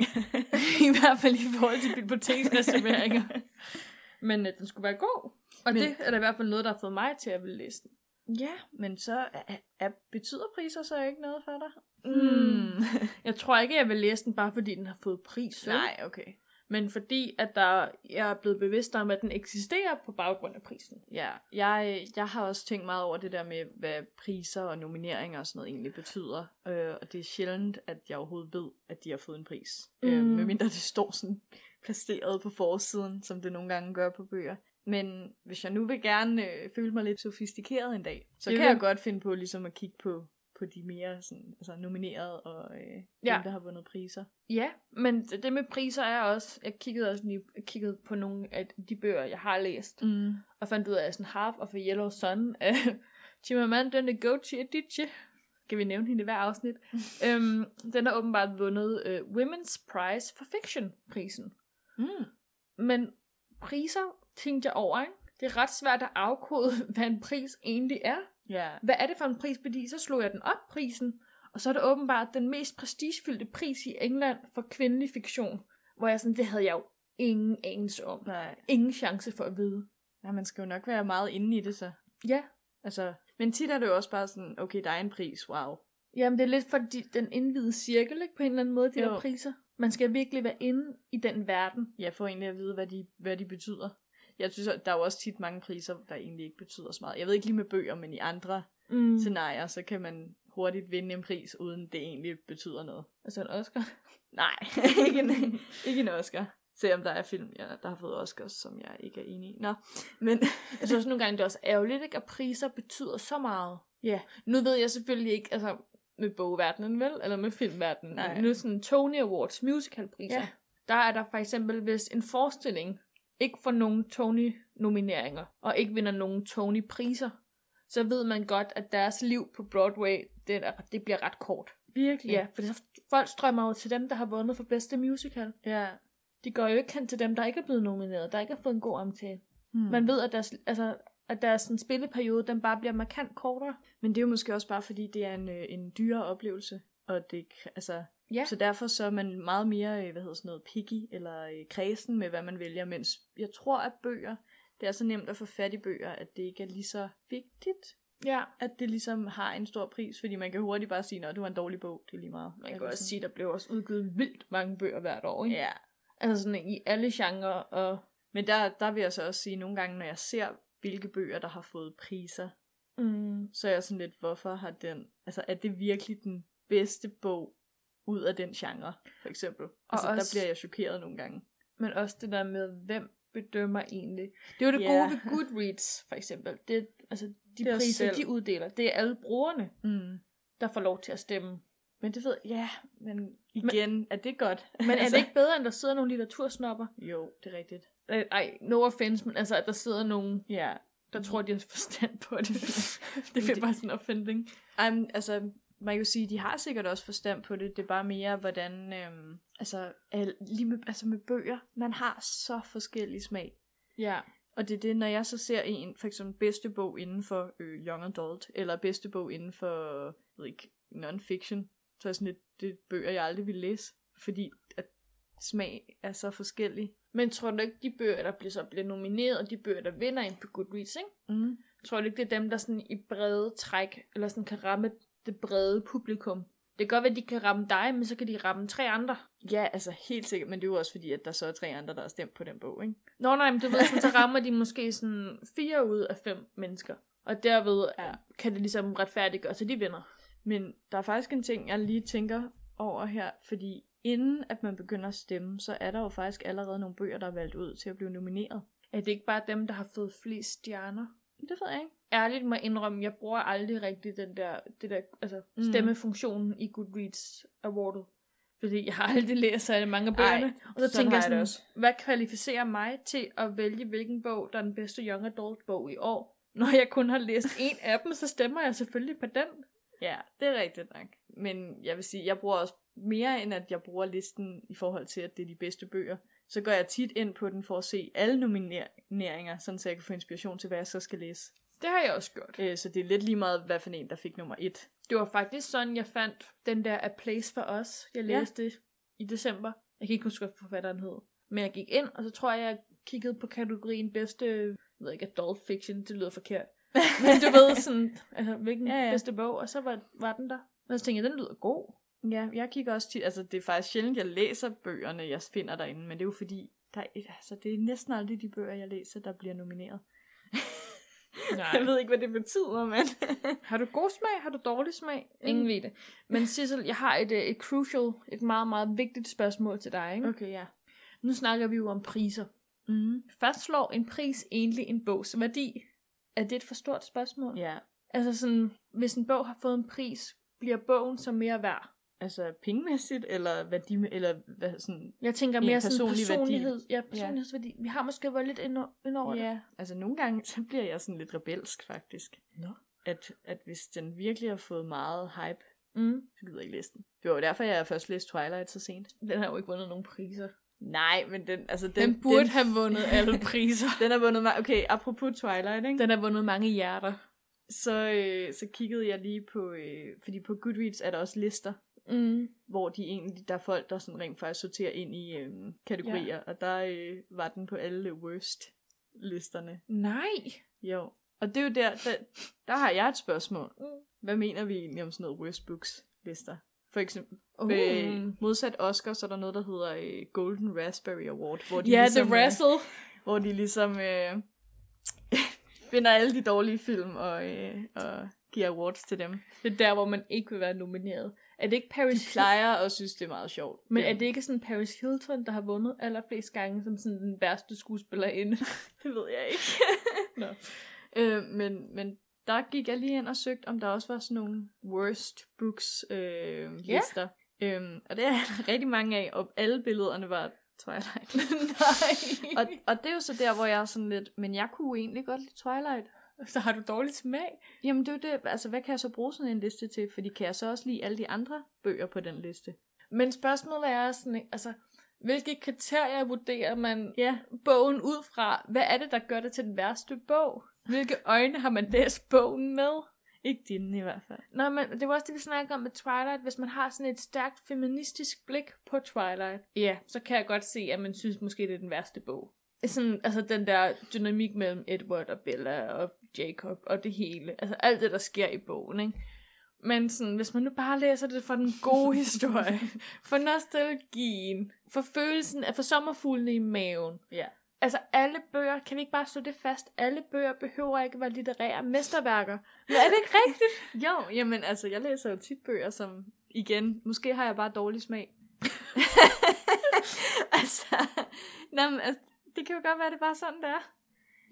Speaker 2: I hvert fald i forhold til biblioteksreserveringer. Men øh, den skulle være god. Og
Speaker 1: Men-
Speaker 2: Men... det er da i hvert fald noget, der har fået mig til at ville læse den.
Speaker 1: ja, men så er, er, betyder priser så ikke noget for dig?
Speaker 2: Mm. Jeg tror ikke, jeg vil læse den, bare fordi den har fået pris. vel?
Speaker 1: Nej, okay.
Speaker 2: Men fordi, at der, jeg er blevet bevidst om, at den eksisterer på baggrund af prisen.
Speaker 1: Ja, jeg, jeg har også tænkt meget over det der med, hvad priser og nomineringer og sådan noget egentlig betyder. Øh, og det er sjældent, at jeg overhovedet ved, at de har fået en pris. Mm. Øh,
Speaker 2: Mm.
Speaker 1: medmindre det står sådan placeret på forsiden, som det nogle gange gør på bøger. Men hvis jeg nu vil gerne øh, føle mig lidt sofistikeret en dag, så
Speaker 2: Det
Speaker 1: kan
Speaker 2: vil-
Speaker 1: jeg godt finde på ligesom at kigge på, på de mere sådan, altså nominerede og øh, ja.
Speaker 2: Ja.
Speaker 1: dem, der har vundet priser.
Speaker 2: Ja, men det med priser er også, jeg kiggede også lige, jeg kiggede på nogle af de bøger, jeg har læst, mm. og fandt ud af, at sådan Half of a Yellow Sun af Chimamanda Ngozi Adichie, kan vi nævne hende i hver afsnit, øhm, den har åbenbart vundet øh, Women's Prize for Fiction-prisen.
Speaker 1: Mm.
Speaker 2: Men priser, tænkte jeg over, ikke? det er ret svært at afkode, hvad en pris egentlig er.
Speaker 1: Ja.
Speaker 2: hvad er det for en pris? Fordi så slog jeg den op, prisen, og så er det åbenbart den mest prestigefyldte pris i England for kvindelig fiktion, hvor jeg sådan, det havde jeg jo ingen anelse om.
Speaker 1: Nej.
Speaker 2: Ingen chance for at vide.
Speaker 1: Ja, man skal jo nok være meget inde i det så.
Speaker 2: Ja,
Speaker 1: Altså, men tit er det jo også bare sådan, okay, der er en pris, wow.
Speaker 2: jamen det er lidt for de, den indvidede cirkel, ikke, på en eller anden måde, de
Speaker 1: Jo.
Speaker 2: jo. der priser. Man skal virkelig være inde i den verden.
Speaker 1: Jeg får egentlig at vide, hvad de, hvad de betyder. Jeg synes, at der er jo også tit mange priser, der egentlig ikke betyder så meget. Jeg ved ikke lige med bøger, men i andre
Speaker 2: Mm.
Speaker 1: mm. scenarier, så kan man hurtigt vinde en pris, uden det egentlig betyder noget.
Speaker 2: Altså en Oscar.
Speaker 1: Nej, ikke, en, ikke en Oscar. Selvom der er film, jeg, der har fået Oscars, som jeg ikke er enig i. Nå, men
Speaker 2: Jeg synes også nogle gange, det er også ærgerligt, ikke, at priser betyder så meget.
Speaker 1: Ja.
Speaker 2: Nu ved jeg selvfølgelig ikke, altså med bogverdenen vel, eller med filmverdenen.
Speaker 1: Nej.
Speaker 2: Nu sådan Tony Awards musicalpriser.
Speaker 1: Ja.
Speaker 2: Ja. Der er der for eksempel, hvis en forestilling ikke får nogen Tony-nomineringer, og ikke vinder nogen Tony-priser, så ved man godt, at deres liv på Broadway, det, er, det bliver ret kort.
Speaker 1: virkelig.
Speaker 2: Ja,
Speaker 1: Ja.
Speaker 2: for det, folk strømmer jo til dem, der har vundet for bedste musical.
Speaker 1: ja.
Speaker 2: De går jo ikke hen til dem, der ikke er blevet nomineret, der ikke har fået en god omtale.
Speaker 1: Hmm.
Speaker 2: Man ved, at deres, altså, at deres sådan, spilleperiode, den bare bliver markant kortere.
Speaker 1: Men det er jo måske også bare, fordi det er en, øh, en dyrere oplevelse, og det, kr- altså,
Speaker 2: Ja.
Speaker 1: så derfor så er man meget mere, øh, hvad hedder sådan noget, picky eller øh, kredsen med, hvad man vælger, mens jeg tror, at bøger, det er så nemt at få fat i bøger, at det ikke er lige så vigtigt,
Speaker 2: Ja.
Speaker 1: at det ligesom har en stor pris, fordi man kan hurtigt bare sige, at du var en dårlig bog, det er lige meget.
Speaker 2: Man kan
Speaker 1: Eller
Speaker 2: også
Speaker 1: sådan.
Speaker 2: sige, at der bliver også udgivet vildt mange bøger hvert år, ikke?
Speaker 1: Ja,
Speaker 2: Altså sådan i alle genrer, og...
Speaker 1: men der, der vil jeg så også sige, at nogle gange, når jeg ser, hvilke bøger, der har fået priser,
Speaker 2: Mm,
Speaker 1: så er jeg sådan lidt, hvorfor har den, altså er det virkelig den bedste bog ud af den genre, for eksempel? Og altså,
Speaker 2: også-
Speaker 1: der bliver jeg chokeret nogle gange.
Speaker 2: men også det der med, hvem bedømmer egentlig. Det er jo det
Speaker 1: Ja.
Speaker 2: yeah. gode ved Goodreads, for eksempel. Det, altså, de
Speaker 1: Det er
Speaker 2: det
Speaker 1: os
Speaker 2: priser,
Speaker 1: selv.
Speaker 2: de uddeler, det er alle brugerne,
Speaker 1: Mm.
Speaker 2: der får lov til at stemme.
Speaker 1: Men det ved ja, men igen, men, er det godt? Altså-
Speaker 2: Men er det ikke bedre, end der sidder nogle litteratursnopper?
Speaker 1: Jo, det er rigtigt.
Speaker 2: Øh, Ej, no offense, men altså, at der sidder nogen,
Speaker 1: Ja.
Speaker 2: der tror, de har forstand på det. det
Speaker 1: Men det-
Speaker 2: bliver bare sådan en offending.
Speaker 1: Um, altså, man kan jo sige, de har sikkert også forstand på det, det er bare mere, hvordan, øhm, altså, al- lige med, altså med bøger, man har så forskellig smag.
Speaker 2: Ja.
Speaker 1: Og det er det, når jeg så ser en, for eksempel bedste bog inden for øh, young adult, eller bedste bog inden for, jeg ved ikke, non-fiction, så er jeg sådan lidt, det er bøger, jeg aldrig vil læse, fordi at smag er så forskellig.
Speaker 2: Men tror du ikke, de bøger, der bliver så bliver nomineret, og de bøger, der vinder ind på Goodreads, ikke?
Speaker 1: Mm.
Speaker 2: Tror du ikke, det er dem, der sådan i brede træk, eller sådan kan ramme det brede publikum? Det kan godt være, at de kan ramme dig, men så kan de ramme tre andre.
Speaker 1: Ja, altså helt sikkert, men det er jo også fordi, at der så er tre andre, der har stemt på den bog, ikke?
Speaker 2: Nå nej, men du ved, sådan, så rammer de måske sådan fire ud af fem mennesker. Og derved
Speaker 1: Ja.
Speaker 2: ja. kan det ligesom retfærdiggøre, så de vinder.
Speaker 1: Men der er faktisk en ting, jeg lige tænker over her, fordi inden at man begynder at stemme, så er der jo faktisk allerede nogle bøger, der er valgt ud til at blive nomineret.
Speaker 2: Er det ikke bare dem, der har fået flest stjerner?
Speaker 1: Det ved jeg ikke.
Speaker 2: Ærligt må jeg indrømme, jeg bruger aldrig rigtig den der, det der altså,
Speaker 1: Mm.
Speaker 2: mm. stemmefunktionen i Goodreads Awarded. Fordi jeg har aldrig læst særlig mange af
Speaker 1: Ej,
Speaker 2: bøgerne. og så
Speaker 1: sådan
Speaker 2: tænker
Speaker 1: har jeg
Speaker 2: jeg
Speaker 1: det også.
Speaker 2: sådan, hvad kvalificerer mig til at vælge, hvilken bog, der er den bedste young adult bog i år? Når jeg kun har læst en af dem, så stemmer jeg selvfølgelig på den.
Speaker 1: Ja, det er rigtigt nok. Men jeg vil sige, jeg bruger også mere end at jeg bruger listen i forhold til, at det er de bedste bøger. Så går jeg tit ind på den for at se alle nomineringer, sådan så jeg kan få inspiration til, hvad jeg så skal læse.
Speaker 2: Det har jeg også gjort.
Speaker 1: Øh, så det er lidt lige meget, hvad for en, der fik nummer et.
Speaker 2: Det var faktisk sådan, jeg fandt den der A Place for Us. Jeg
Speaker 1: Ja.
Speaker 2: læste ja. i december. Jeg kan ikke huske, hvad forfatteren hed. Men jeg gik ind, og så tror jeg, jeg kiggede på kategorien bedste, jeg ved ikke, adult fiction, det lyder forkert. Men du ved sådan, altså, hvilken
Speaker 1: Ja,
Speaker 2: ja,
Speaker 1: ja.
Speaker 2: ja. bedste bog, og så var, var den der. Og så tænkte jeg, den lyder god.
Speaker 1: Ja, jeg kigger også tit, altså det er faktisk sjældent, jeg læser bøgerne, jeg finder derinde, men det er jo fordi, der, er- altså, det er næsten aldrig de bøger, jeg læser, der bliver nomineret. Jeg
Speaker 2: Nej.
Speaker 1: ved ikke, hvad det betyder, men...
Speaker 2: Har du god smag? Har du dårlig smag? Ingen ved det. Men Sissel, jeg har et, øh, et crucial, et meget, meget vigtigt spørgsmål til dig. Ikke?
Speaker 1: okay, ja.
Speaker 2: Nu snakker vi jo om priser.
Speaker 1: Mm.
Speaker 2: Fastslår en pris egentlig en bogs værdi? Er det et for stort spørgsmål?
Speaker 1: Ja,
Speaker 2: Altså sådan, hvis en bog har fået en pris, bliver bogen så mere værd?
Speaker 1: altså pengemæssigt, eller hvad de... Eller hvad sådan...
Speaker 2: Jeg tænker
Speaker 1: En
Speaker 2: mere sådan
Speaker 1: personlig værdi.
Speaker 2: personlighed. Ja, personlighedsværdi. Vi har måske været lidt ind ind over det.
Speaker 1: Ja, altså nogle gange, så bliver jeg sådan lidt rebelsk, faktisk.
Speaker 2: Nå.
Speaker 1: At, at hvis den virkelig har fået meget hype,
Speaker 2: Mm.
Speaker 1: så gider jeg ikke læse den. Det var jo derfor, jeg først læste Twilight så sent.
Speaker 2: Den har jo ikke vundet nogen priser.
Speaker 1: Nej, men den... Altså, den,
Speaker 2: Den, den burde den... have vundet alle priser.
Speaker 1: Den har vundet mig... Okay, apropos Twilight, ikke?
Speaker 2: den har vundet mange hjerter.
Speaker 1: så, øh, så kiggede jeg lige på, øh, fordi på Goodreads er der også lister,
Speaker 2: Mm.
Speaker 1: hvor de egentlig, der er folk, der sådan rent faktisk sorterer ind i øh, kategorier, ja. og der øh, var den på alle worst-listerne.
Speaker 2: Nej.
Speaker 1: Jo. Og det er jo der, der, der har jeg et spørgsmål.
Speaker 2: Mm.
Speaker 1: Hvad mener vi egentlig om sådan noget worst books-lister? For eksempel,
Speaker 2: Uh.
Speaker 1: øh, modsat Oscar, så er der noget, der hedder øh, Golden Raspberry Award, hvor de
Speaker 2: Ja, The
Speaker 1: ligesom, øh,
Speaker 2: Wrestle.
Speaker 1: hvor de ligesom øh, finder alle de dårlige film og, øh, og giver awards til dem.
Speaker 2: Det er der, hvor man ikke vil være nomineret. Er det ikke Paris Hilton?
Speaker 1: plejer og synes, det er meget sjovt.
Speaker 2: Men er det ikke sådan Paris Hilton, der har vundet allerflest gange som sådan den værste skuespillerinde?
Speaker 1: Det ved jeg ikke.
Speaker 2: Nå.
Speaker 1: Øh, men, men der gik jeg lige ind og søgte, om der også var sådan nogle worst books øh, lister. Øhm, og det er der rigtig mange af, og alle billederne var Twilight.
Speaker 2: Nej.
Speaker 1: og, og det er jo så der, hvor jeg er sådan lidt, men jeg kunne jo egentlig godt lide Twilight.
Speaker 2: Og så har du dårlig smag.
Speaker 1: Jamen det er jo det, altså hvad kan jeg så bruge sådan en liste til? Fordi kan jeg så også lide alle de andre bøger på den liste?
Speaker 2: Men spørgsmålet er sådan, ikke? altså, hvilke kriterier vurderer man
Speaker 1: Ja,
Speaker 2: bogen ud fra? Hvad er det, der gør det til den værste bog? Hvilke øjne har man læst bogen med?
Speaker 1: ikke dine i hvert fald.
Speaker 2: Nå, men det var også det, vi snakkede om med Twilight. Hvis man har sådan et stærkt feministisk blik på Twilight, ja, så kan jeg godt se, at man synes måske, det er den værste bog. Sådan, altså den der dynamik mellem Edward og Bella og Jacob og det hele. Altså alt det, der sker i bogen, ikke? Men sådan, hvis man nu bare læser det for den gode historie, for nostalgien, for følelsen af for sommerfuglene i maven.
Speaker 1: Ja.
Speaker 2: Altså alle bøger, kan vi ikke bare slå det fast? Alle bøger behøver ikke være litterære mesterværker. Men er det ikke rigtigt?
Speaker 1: Jo, jamen altså, jeg læser jo tit bøger, som igen, måske har jeg bare dårlig smag. altså, nej, men, altså, det kan jo godt være, det er bare sådan, det er.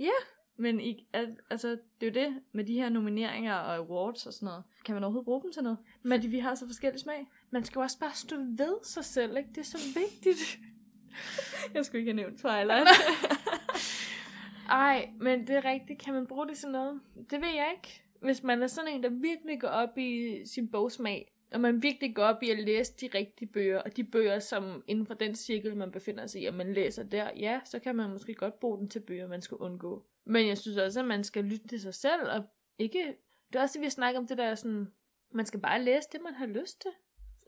Speaker 2: Ja.
Speaker 1: Men i, al- altså, det er jo det med de her nomineringer og awards og sådan noget. Kan man overhovedet bruge dem til noget? Men Fordi vi har så forskellige smag.
Speaker 2: Man skal jo også bare stå ved sig selv, ikke? Det er så vigtigt.
Speaker 1: Jeg skulle ikke have nævnt Twilight.
Speaker 2: Ej, men det er rigtigt. Kan man bruge det til noget? Det ved jeg ikke. Hvis man er sådan en, der virkelig går op i sin bogsmag, og man virkelig går op i at læse de rigtige bøger, og de bøger, som inden for den cirkel, man befinder sig i, og man læser der, ja, så kan man måske godt bruge den til bøger, man skal undgå. Men jeg synes også, at man skal lytte til sig selv, og ikke... Det er også det, vi har snakket om det der sådan... Man skal bare læse det, man har lyst til,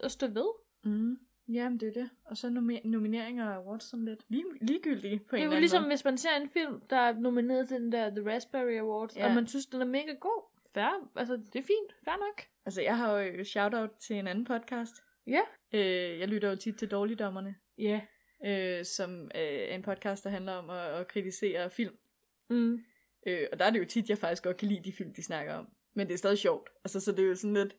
Speaker 2: og stå ved.
Speaker 1: mm. Jamen, det er det. Og så nomi- nomineringer og awards sådan lidt lige, ligegyldige på en
Speaker 2: Det er
Speaker 1: eller
Speaker 2: jo
Speaker 1: anden
Speaker 2: ligesom,
Speaker 1: måde.
Speaker 2: hvis man ser en film, der er nomineret til den der The Raspberry Award,
Speaker 1: Ja.
Speaker 2: ja. og man synes, den er mega god. Fair, altså det er fint, fair nok.
Speaker 1: Altså, jeg har jo shout-out til en anden podcast.
Speaker 2: Ja.
Speaker 1: Øh, jeg lytter jo tit til Dårligdommerne.
Speaker 2: Ja.
Speaker 1: øh, som øh, er en podcast, der handler om at, at kritisere film.
Speaker 2: Mm.
Speaker 1: Øh, og der er det jo tit, jeg faktisk godt kan lide de film, de snakker om. Men det er stadig sjovt. Altså, så det er jo sådan lidt...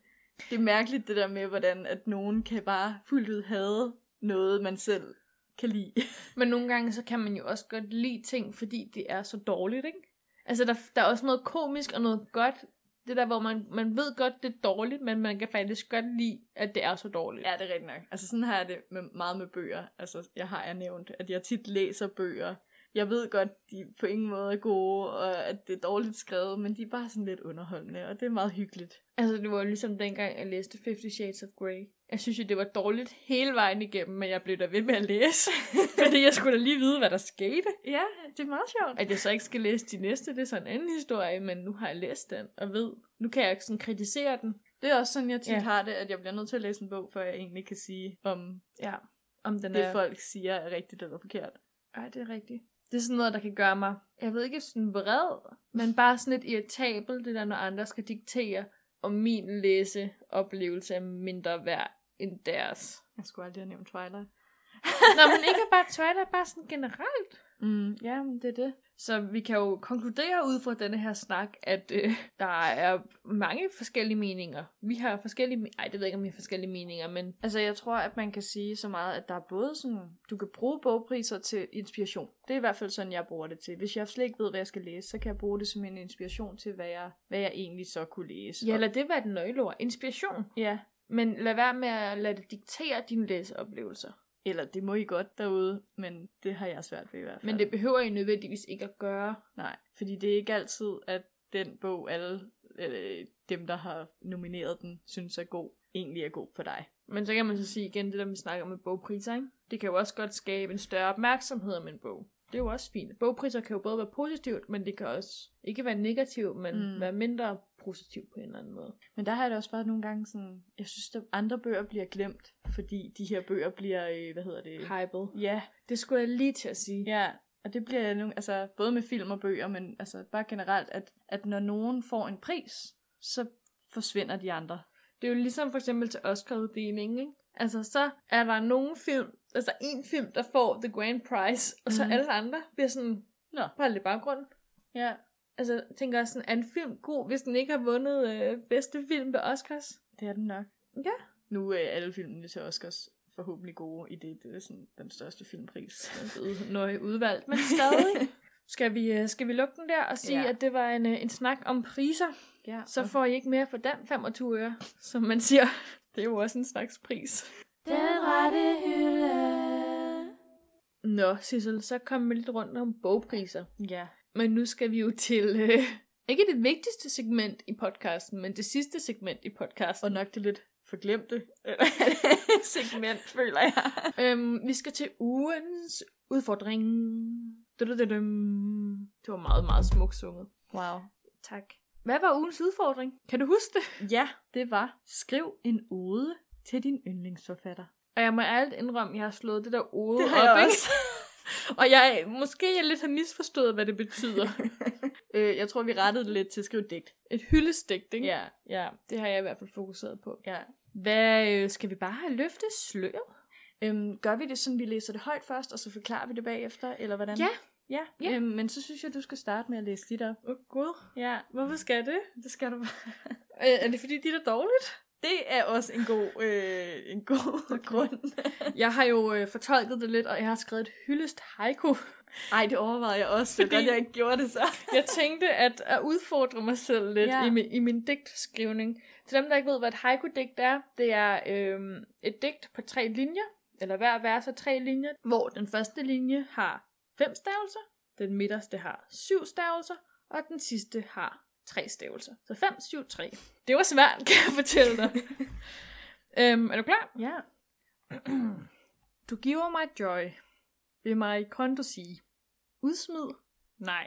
Speaker 1: Det er mærkeligt det der med, hvordan at nogen kan bare fuldt ud have noget, man selv kan lide.
Speaker 2: Men nogle gange, så kan man jo også godt lide ting, fordi det er så dårligt, ikke? Altså der, der er også noget komisk og noget godt. Det der, hvor man, man ved godt, det er dårligt, men man kan faktisk godt lide, at det er så dårligt.
Speaker 1: ja, det er rigtigt nok. Altså, sådan har jeg det med, meget med bøger. Altså, jeg har jeg nævnt, at jeg tit læser bøger, Jeg ved godt, de på ingen måde er gode, og at det er dårligt skrevet, men de er bare sådan lidt underholdende, og det er meget hyggeligt.
Speaker 2: Altså, det var jo ligesom dengang, jeg læste Fifty Shades of Grey. Jeg synes jo, det var dårligt hele vejen igennem, men jeg blev da ved med at læse. fordi jeg skulle da lige vide, hvad der skete.
Speaker 1: Ja, det er meget sjovt.
Speaker 2: At jeg så ikke skal læse de næste, det er så en anden historie, men nu har jeg læst den og ved. Nu kan jeg ikke sådan kritisere den.
Speaker 1: Det er også sådan, jeg tit
Speaker 2: Ja.
Speaker 1: ja. har det, at jeg bliver nødt til at læse en bog, før jeg egentlig kan sige, om
Speaker 2: Ja, om den
Speaker 1: det
Speaker 2: er...
Speaker 1: folk siger er rigtigt eller forkert.
Speaker 2: Ej, det er rigtigt. Det er sådan noget, der kan gøre mig, jeg ved ikke sådan vred, men bare sådan lidt irritabel, det der, når andre skal diktere, om min læseoplevelse er mindre værd end deres.
Speaker 1: Jeg skulle aldrig have nævnt Twilight.
Speaker 2: Nå, men ikke bare Twilight, bare sådan generelt.
Speaker 1: Mm, ja, men det er det.
Speaker 2: Så vi kan jo konkludere ud fra denne her snak, at øh, der er mange forskellige meninger. Vi har forskellige... me- Ej, det ved jeg ikke, om vi har forskellige meninger, men
Speaker 1: Altså, jeg tror, at man kan sige så meget, at der er både sådan, du kan bruge bogpriser til inspiration. Det er i hvert fald sådan, jeg bruger det til. Hvis jeg slet ikke ved, hvad jeg skal læse, så kan jeg bruge det som en inspiration til, hvad jeg, hvad jeg egentlig så kunne læse.
Speaker 2: ja, lad det være et nøgleord. Inspiration.
Speaker 1: ja,
Speaker 2: Men lad være med at lade det diktere dine læseoplevelser.
Speaker 1: eller det må I godt derude, men det har jeg svært ved i hvert fald.
Speaker 2: Men det behøver I nødvendigvis ikke at gøre.
Speaker 1: Nej, fordi det er ikke altid, at den bog, alle øh, dem, der har nomineret den, synes er god, egentlig er god for dig.
Speaker 2: Men så kan man så sige igen, det der vi snakker om med bogpriser, ikke? det kan jo også godt skabe en større opmærksomhed om en bog. Det er jo også fint. Bogpriser kan jo både være positivt, men det kan også ikke være negativt, men mm.
Speaker 1: Mm.
Speaker 2: være mindre positivt på en eller anden måde.
Speaker 1: Men der har jeg det også bare nogle gange sådan, jeg synes, at andre bøger bliver glemt, fordi de her bøger bliver, øh, hvad hedder det?
Speaker 2: Hyped.
Speaker 1: Ja,
Speaker 2: Det skulle jeg lige til at sige.
Speaker 1: ja. Og det bliver nogle, altså både med film og bøger, men altså bare generelt, at, at når nogen får en pris, så forsvinder de andre.
Speaker 2: Det er jo ligesom for eksempel til Oscar-uddelingen, ikke? Altså, så er der nogen film, altså en film, der får The Grand Prize, og så mm.
Speaker 1: Mhm.
Speaker 2: alle andre bliver sådan,
Speaker 1: Nå.
Speaker 2: bare lidt baggrund.
Speaker 1: Ja,
Speaker 2: Altså, jeg tænker jeg sådan, er en film god, hvis den ikke har vundet øh, bedste film ved Oscars?
Speaker 1: det er den nok.
Speaker 2: Ja.
Speaker 1: Nu er alle filmene til Oscars forhåbentlig gode i det. Det er sådan den største filmpris.
Speaker 2: Nøje udvalgt, men stadig. skal, vi, øh, skal vi lukke den der og sige, ja.
Speaker 1: Ja.
Speaker 2: at det var en, øh, en snak om priser?
Speaker 1: Ja,
Speaker 2: Så får I ikke mere for den 25 øre, som man siger. Det er jo også en slags pris.
Speaker 3: Den rette hylde.
Speaker 2: Nå, Sissel, så kom vi lidt rundt om bogpriser.
Speaker 1: ja.
Speaker 2: Men nu skal vi jo til, øh, ikke det vigtigste segment i podcasten, men det sidste segment i podcasten.
Speaker 1: Og nok det lidt forglemte øh, segment, føler jeg.
Speaker 2: Øhm, vi skal til ugens udfordring. Du-du-du-dum. Det var meget, meget smukt sunget.
Speaker 1: Wow.
Speaker 2: Tak. Hvad var ugens udfordring? Kan du huske det?
Speaker 1: Ja, det var skriv en ode til din yndlingsforfatter.
Speaker 2: Og jeg må ærligt indrømme, at jeg har slået det der ode
Speaker 1: Det har jeg
Speaker 2: op, ikke? Og jeg, måske jeg lidt har misforstået, hvad det betyder.
Speaker 1: øh, jeg tror, vi rettede det lidt til skriv digt.
Speaker 2: Et hyldestigt, ikke?
Speaker 1: Ja,
Speaker 2: ja, det har jeg i hvert fald fokuseret på.
Speaker 1: ja.
Speaker 2: Hvad, øh, skal vi bare have løftet sløret?
Speaker 1: Øhm, gør vi det sådan, vi læser det højt først, og så forklarer vi det bagefter, eller hvordan?
Speaker 2: Ja.
Speaker 1: Ja,
Speaker 2: Ja.
Speaker 1: ja. Øhm, men så synes jeg, du skal starte med at læse dit op.
Speaker 2: Åh oh, gud,
Speaker 1: Ja,
Speaker 2: hvorfor skal jeg det?
Speaker 1: det skal du bare.
Speaker 2: Øh, er det fordi, de er dårligt?
Speaker 1: Det er også en god, øh, en god okay. grund.
Speaker 2: Jeg har jo øh, fortolket det lidt, og jeg har skrevet et hyldest haiku.
Speaker 1: Ej, det overvejede jeg også, Fordi...
Speaker 2: Fordi-
Speaker 1: godt jeg ikke gjorde det så.
Speaker 2: Jeg tænkte at, at udfordre mig selv lidt ja.
Speaker 1: Ja.
Speaker 2: i, min, i min digtskrivning. Til dem, der ikke ved, hvad et haiku-digt er, det er øh, et digt på tre linjer, eller hver vers er tre linjer, hvor den første linje har fem stavelser, den midterste har syv stavelser, og den sidste har tre stavelser. Så 5, 7, 3. Det var svært, kan jeg fortælle dig. øhm, er du klar?
Speaker 1: Ja.
Speaker 2: Du giver mig joy, vil mig konto sige. Udsmid? Nej.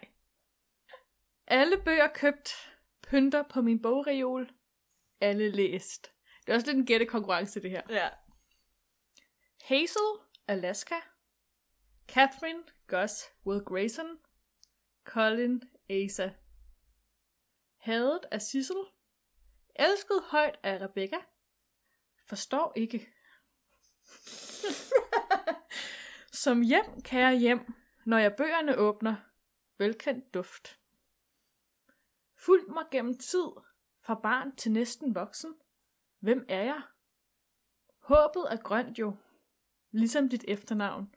Speaker 2: Alle bøger købt, pynter på min bogreol. Alle læst. Det er også lidt en gættekonkurrence, det her.
Speaker 1: Ja.
Speaker 2: Hazel, Alaska. Catherine, Gus, Will Grayson. Colin, Asa. Hadet af Sissel. Elsket højt af Rebecca. Forstår ikke. Som hjem, kære hjem, når jeg bøgerne åbner. Velkendt duft. Fulgt mig gennem tid, fra barn til næsten voksen. Hvem er jeg? Håbet er grønt jo. Ligesom dit efternavn.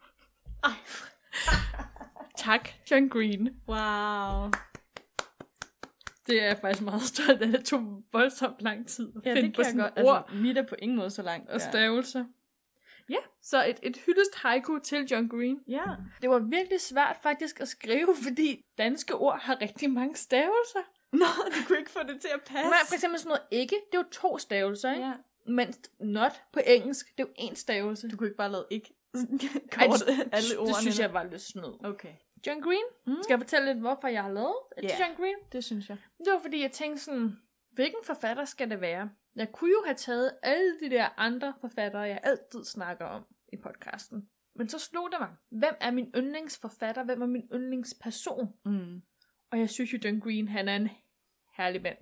Speaker 2: tak, John Green.
Speaker 1: Wow.
Speaker 2: Det er jeg faktisk meget stolt af. Det tog voldsomt lang tid at
Speaker 1: Ja,
Speaker 2: finde
Speaker 1: det
Speaker 2: på
Speaker 1: kan jeg
Speaker 2: sådan
Speaker 1: godt.
Speaker 2: ord
Speaker 1: Altså, mit er på ingen måde så langt.
Speaker 2: og stavelser. Ja, så et, et hyldest haiku til John Green.
Speaker 1: Ja.
Speaker 2: Det var virkelig svært faktisk at skrive, fordi danske ord har rigtig mange stavelser.
Speaker 1: Nå, du kunne ikke få det til at passe.
Speaker 2: Nej, for eksempel sådan noget ikke, det er jo to stavelser, ikke?
Speaker 1: Ja.
Speaker 2: Mens not på engelsk, det er jo én stavelse.
Speaker 1: Du kunne ikke bare lave ikke
Speaker 2: Ej,
Speaker 1: kort
Speaker 2: det,
Speaker 1: alle ordene.
Speaker 2: det synes jeg var lidt snyd.
Speaker 1: Okay,
Speaker 2: John Green?
Speaker 1: Mm.
Speaker 2: Mm. Skal jeg fortælle lidt, hvorfor jeg har lavet et
Speaker 1: Ja.
Speaker 2: yeah. John Green?
Speaker 1: det synes jeg.
Speaker 2: Det var fordi, jeg tænkte sådan, hvilken forfatter skal det være? Jeg kunne jo have taget alle de der andre forfattere, jeg altid snakker om i podcasten. Men så slog det mig, hvem er min yndlingsforfatter, hvem er min yndlingsperson?
Speaker 1: Mm.
Speaker 2: Og jeg synes jo, John Green, han er en herlig mand.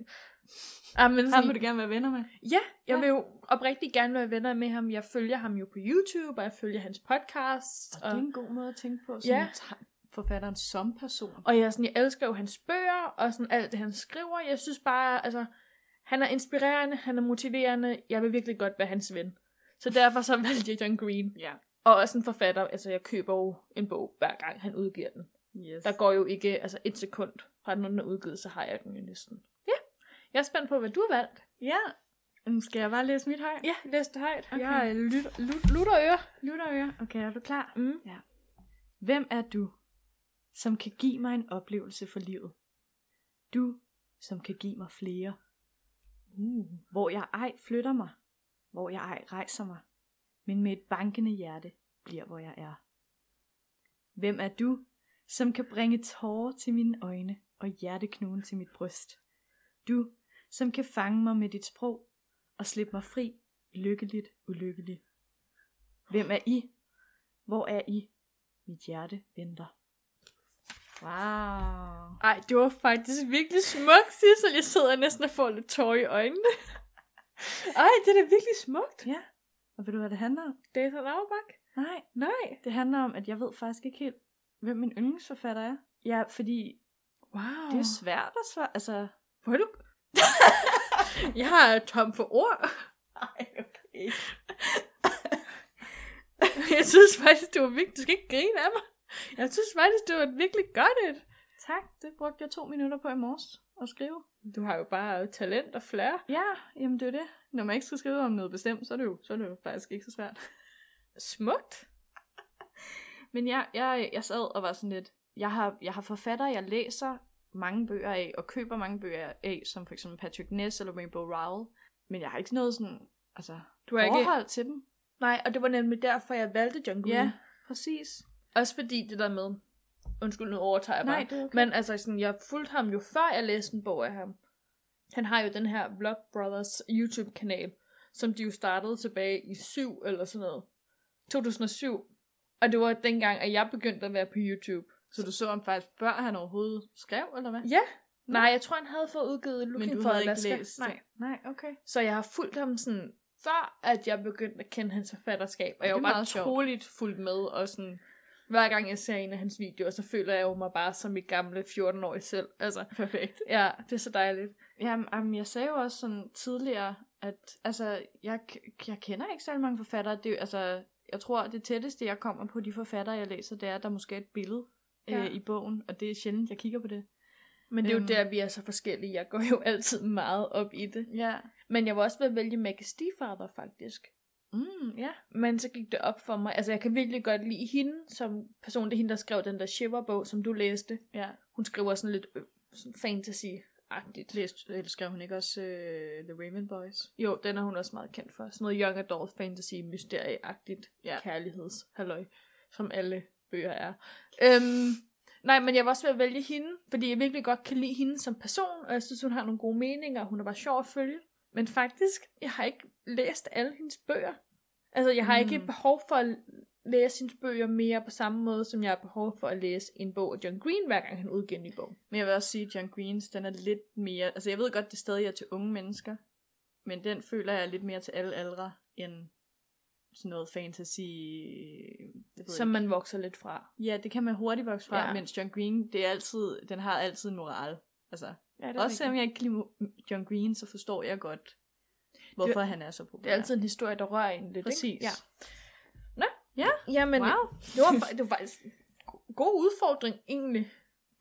Speaker 2: Ah,
Speaker 1: Ham
Speaker 2: men
Speaker 1: vil
Speaker 2: sådan,
Speaker 1: du gerne være venner med.
Speaker 2: ja, jeg
Speaker 1: Ja.
Speaker 2: vil jo oprigtigt gerne være venner med ham. Jeg følger ham jo på YouTube, og jeg følger hans podcast.
Speaker 1: Og det er en god måde at tænke på,
Speaker 2: Ja.
Speaker 1: sådan ja. forfatteren som person.
Speaker 2: Og jeg, sådan, jeg elsker jo hans bøger, og sådan alt det, han skriver. Jeg synes bare, altså, han er inspirerende, han er motiverende. Jeg vil virkelig godt være hans ven. Så derfor så valgte jeg John Green.
Speaker 1: Ja.
Speaker 2: Og også en forfatter, altså jeg køber jo en bog, hver gang han udgiver den.
Speaker 1: Yes.
Speaker 2: Der går jo ikke, altså et sekund fra den er udgivet, så har jeg den jo næsten. Ja, jeg er spændt på, hvad du har valgt.
Speaker 1: Ja. Mm, Skal jeg bare læse mit højt?
Speaker 2: Ja, læs det højt.
Speaker 1: Okay.
Speaker 2: Okay. Jeg er lyt, lut, lutterøre.
Speaker 1: Lutterøre. Okay, er du klar?
Speaker 2: Mm.
Speaker 1: Ja. Hvem er du, som kan give mig en oplevelse for livet? Du, som kan give mig flere. Uh. Hvor jeg ej flytter mig. Hvor jeg ej rejser mig. Men med et bankende hjerte bliver, hvor jeg er. Hvem er du, som kan bringe tårer til mine øjne og hjerteknuden til mit bryst? Du, som kan fange mig med dit sprog og slippe mig fri, lykkeligt, ulykkelig. Hvem er I? Hvor er I? Mit hjerte venter. Wow.
Speaker 2: Ej, det var faktisk virkelig smukt, Sissel. Jeg sidder næsten og får lidt tår i øjnene. Ej, det er da virkelig smukt.
Speaker 1: Ja. Og ved du, hvad det handler om?
Speaker 2: Det er så Auerbach.
Speaker 1: Nej,
Speaker 2: Nej.
Speaker 1: det handler om, at jeg ved faktisk ikke helt, hvem min yndlingsforfatter er. Ja, fordi
Speaker 2: Wow.
Speaker 1: det er svært at svare. Altså,
Speaker 2: Hvor er du... jeg er tom for ord.
Speaker 1: Ej, okay.
Speaker 2: Jeg synes faktisk, det var virkelig... Du skal ikke grine af mig. Jeg synes faktisk, det var et virkelig godt et.
Speaker 1: Tak, det brugte jeg to minutter på i morges at skrive.
Speaker 2: Du har jo bare talent og flair.
Speaker 1: Ja, jamen det er jo det. Når man ikke skal skrive om noget bestemt, så er det jo, så er det jo faktisk ikke så svært.
Speaker 2: Smukt.
Speaker 1: Men jeg, jeg, jeg sad og var sådan lidt, jeg har, jeg har forfatter, jeg læser mange bøger af, og køber mange bøger af, som for eksempel Patrick Ness eller Rainbow Rowell, men jeg har ikke noget sådan, altså,
Speaker 2: Du har ikke...
Speaker 1: forhold ikke... til dem.
Speaker 2: Nej, og det var nemlig derfor, jeg valgte John Green.
Speaker 1: Ja, præcis.
Speaker 2: Også fordi det der med... Undskyld, nu overtager jeg bare.
Speaker 1: Nej, det er okay.
Speaker 2: Men altså, sådan, jeg fulgte ham jo før jeg læste en bog af ham. Han har jo den her Vlog Brothers YouTube-kanal, som de jo startede tilbage i 7 eller sådan noget. 2007. Og det var dengang, at jeg begyndte at være på YouTube.
Speaker 1: Så du så ham faktisk før han overhovedet skrev, eller hvad?
Speaker 2: Ja. Nej, jeg tror, han havde fået udgivet Looking
Speaker 1: men du
Speaker 2: for
Speaker 1: havde
Speaker 2: Alaska.
Speaker 1: ikke læst det.
Speaker 2: Nej.
Speaker 1: Nej, okay.
Speaker 2: Så jeg har fulgt ham sådan, før at jeg begyndte at kende hans forfatterskab. Og jeg
Speaker 1: er
Speaker 2: var bare
Speaker 1: meget sjovt.
Speaker 2: troligt fuldt med, og sådan, hver gang jeg ser en af hans videoer, så føler jeg jo mig bare som mit gamle 14-årige selv. Altså,
Speaker 1: Perfekt.
Speaker 2: ja, det er så dejligt.
Speaker 1: Jamen, jamen, jeg sagde jo også sådan tidligere, at altså, jeg, k- jeg kender ikke særlig mange forfattere. Det, er jo- altså, jeg tror, det tætteste, jeg kommer på de forfattere, jeg læser, det er, at der måske er et billede ja.
Speaker 2: Ja.
Speaker 1: øh, i bogen, og det er sjældent, jeg kigger på det.
Speaker 2: Men det er jo
Speaker 1: Øhm.
Speaker 2: der, vi er så forskellige. Jeg går jo altid meget op i det.
Speaker 1: Ja.
Speaker 2: Men jeg var også ved at vælge Maggie Stiefvater, faktisk.
Speaker 1: Mm, ja.
Speaker 2: Men så gik det op for mig. Altså, jeg kan virkelig godt lide hende som person. Det er hende, der skrev den der Shiver-bog, som du læste.
Speaker 1: ja.
Speaker 2: Hun skriver sådan lidt øh, sådan fantasy-agtigt.
Speaker 1: Læst, eller skrev hun ikke også øh, The Raven Boys?
Speaker 2: Jo, den er hun også meget kendt for. Sådan noget young adult fantasy mysterieagtigt
Speaker 1: Ja.
Speaker 2: ja. kærlighedshalløj, som alle bøger er. Øhm, nej, men jeg var også ved at vælge hende, fordi jeg virkelig godt kan lide hende som person, og jeg synes, hun har nogle gode meninger, og hun er bare sjov at følge. Men faktisk, jeg har ikke læst alle hendes bøger. Altså, jeg har mm.
Speaker 1: Mm.
Speaker 2: ikke behov for at læse hendes bøger mere på samme måde, som jeg har behov for at læse en bog af John Green, hver gang han udgiver en ny bog.
Speaker 1: Men jeg vil også sige, at John Greens, den er lidt mere... Altså, jeg ved godt, det stadig er til unge mennesker, men den føler jeg er lidt mere til alle aldre, end sådan noget fantasy... Jeg ved
Speaker 2: Som man vokser lidt fra.
Speaker 1: Ja, det kan man hurtigt vokse fra, ja.
Speaker 2: Ja.
Speaker 1: mens John Green, det er altid, den har altid en moral. Altså,
Speaker 2: Ja, det
Speaker 1: også selvom jeg ikke kan lide mo- John Green, så forstår jeg godt, hvorfor det, han er så populær.
Speaker 2: Det er altid en historie, der rører en lidt,
Speaker 1: Præcis.
Speaker 2: Ikke?
Speaker 1: Ja.
Speaker 2: Ja. Jamen,
Speaker 1: Wow.
Speaker 2: wow. det, var, fa- det var faktisk go- god udfordring, egentlig.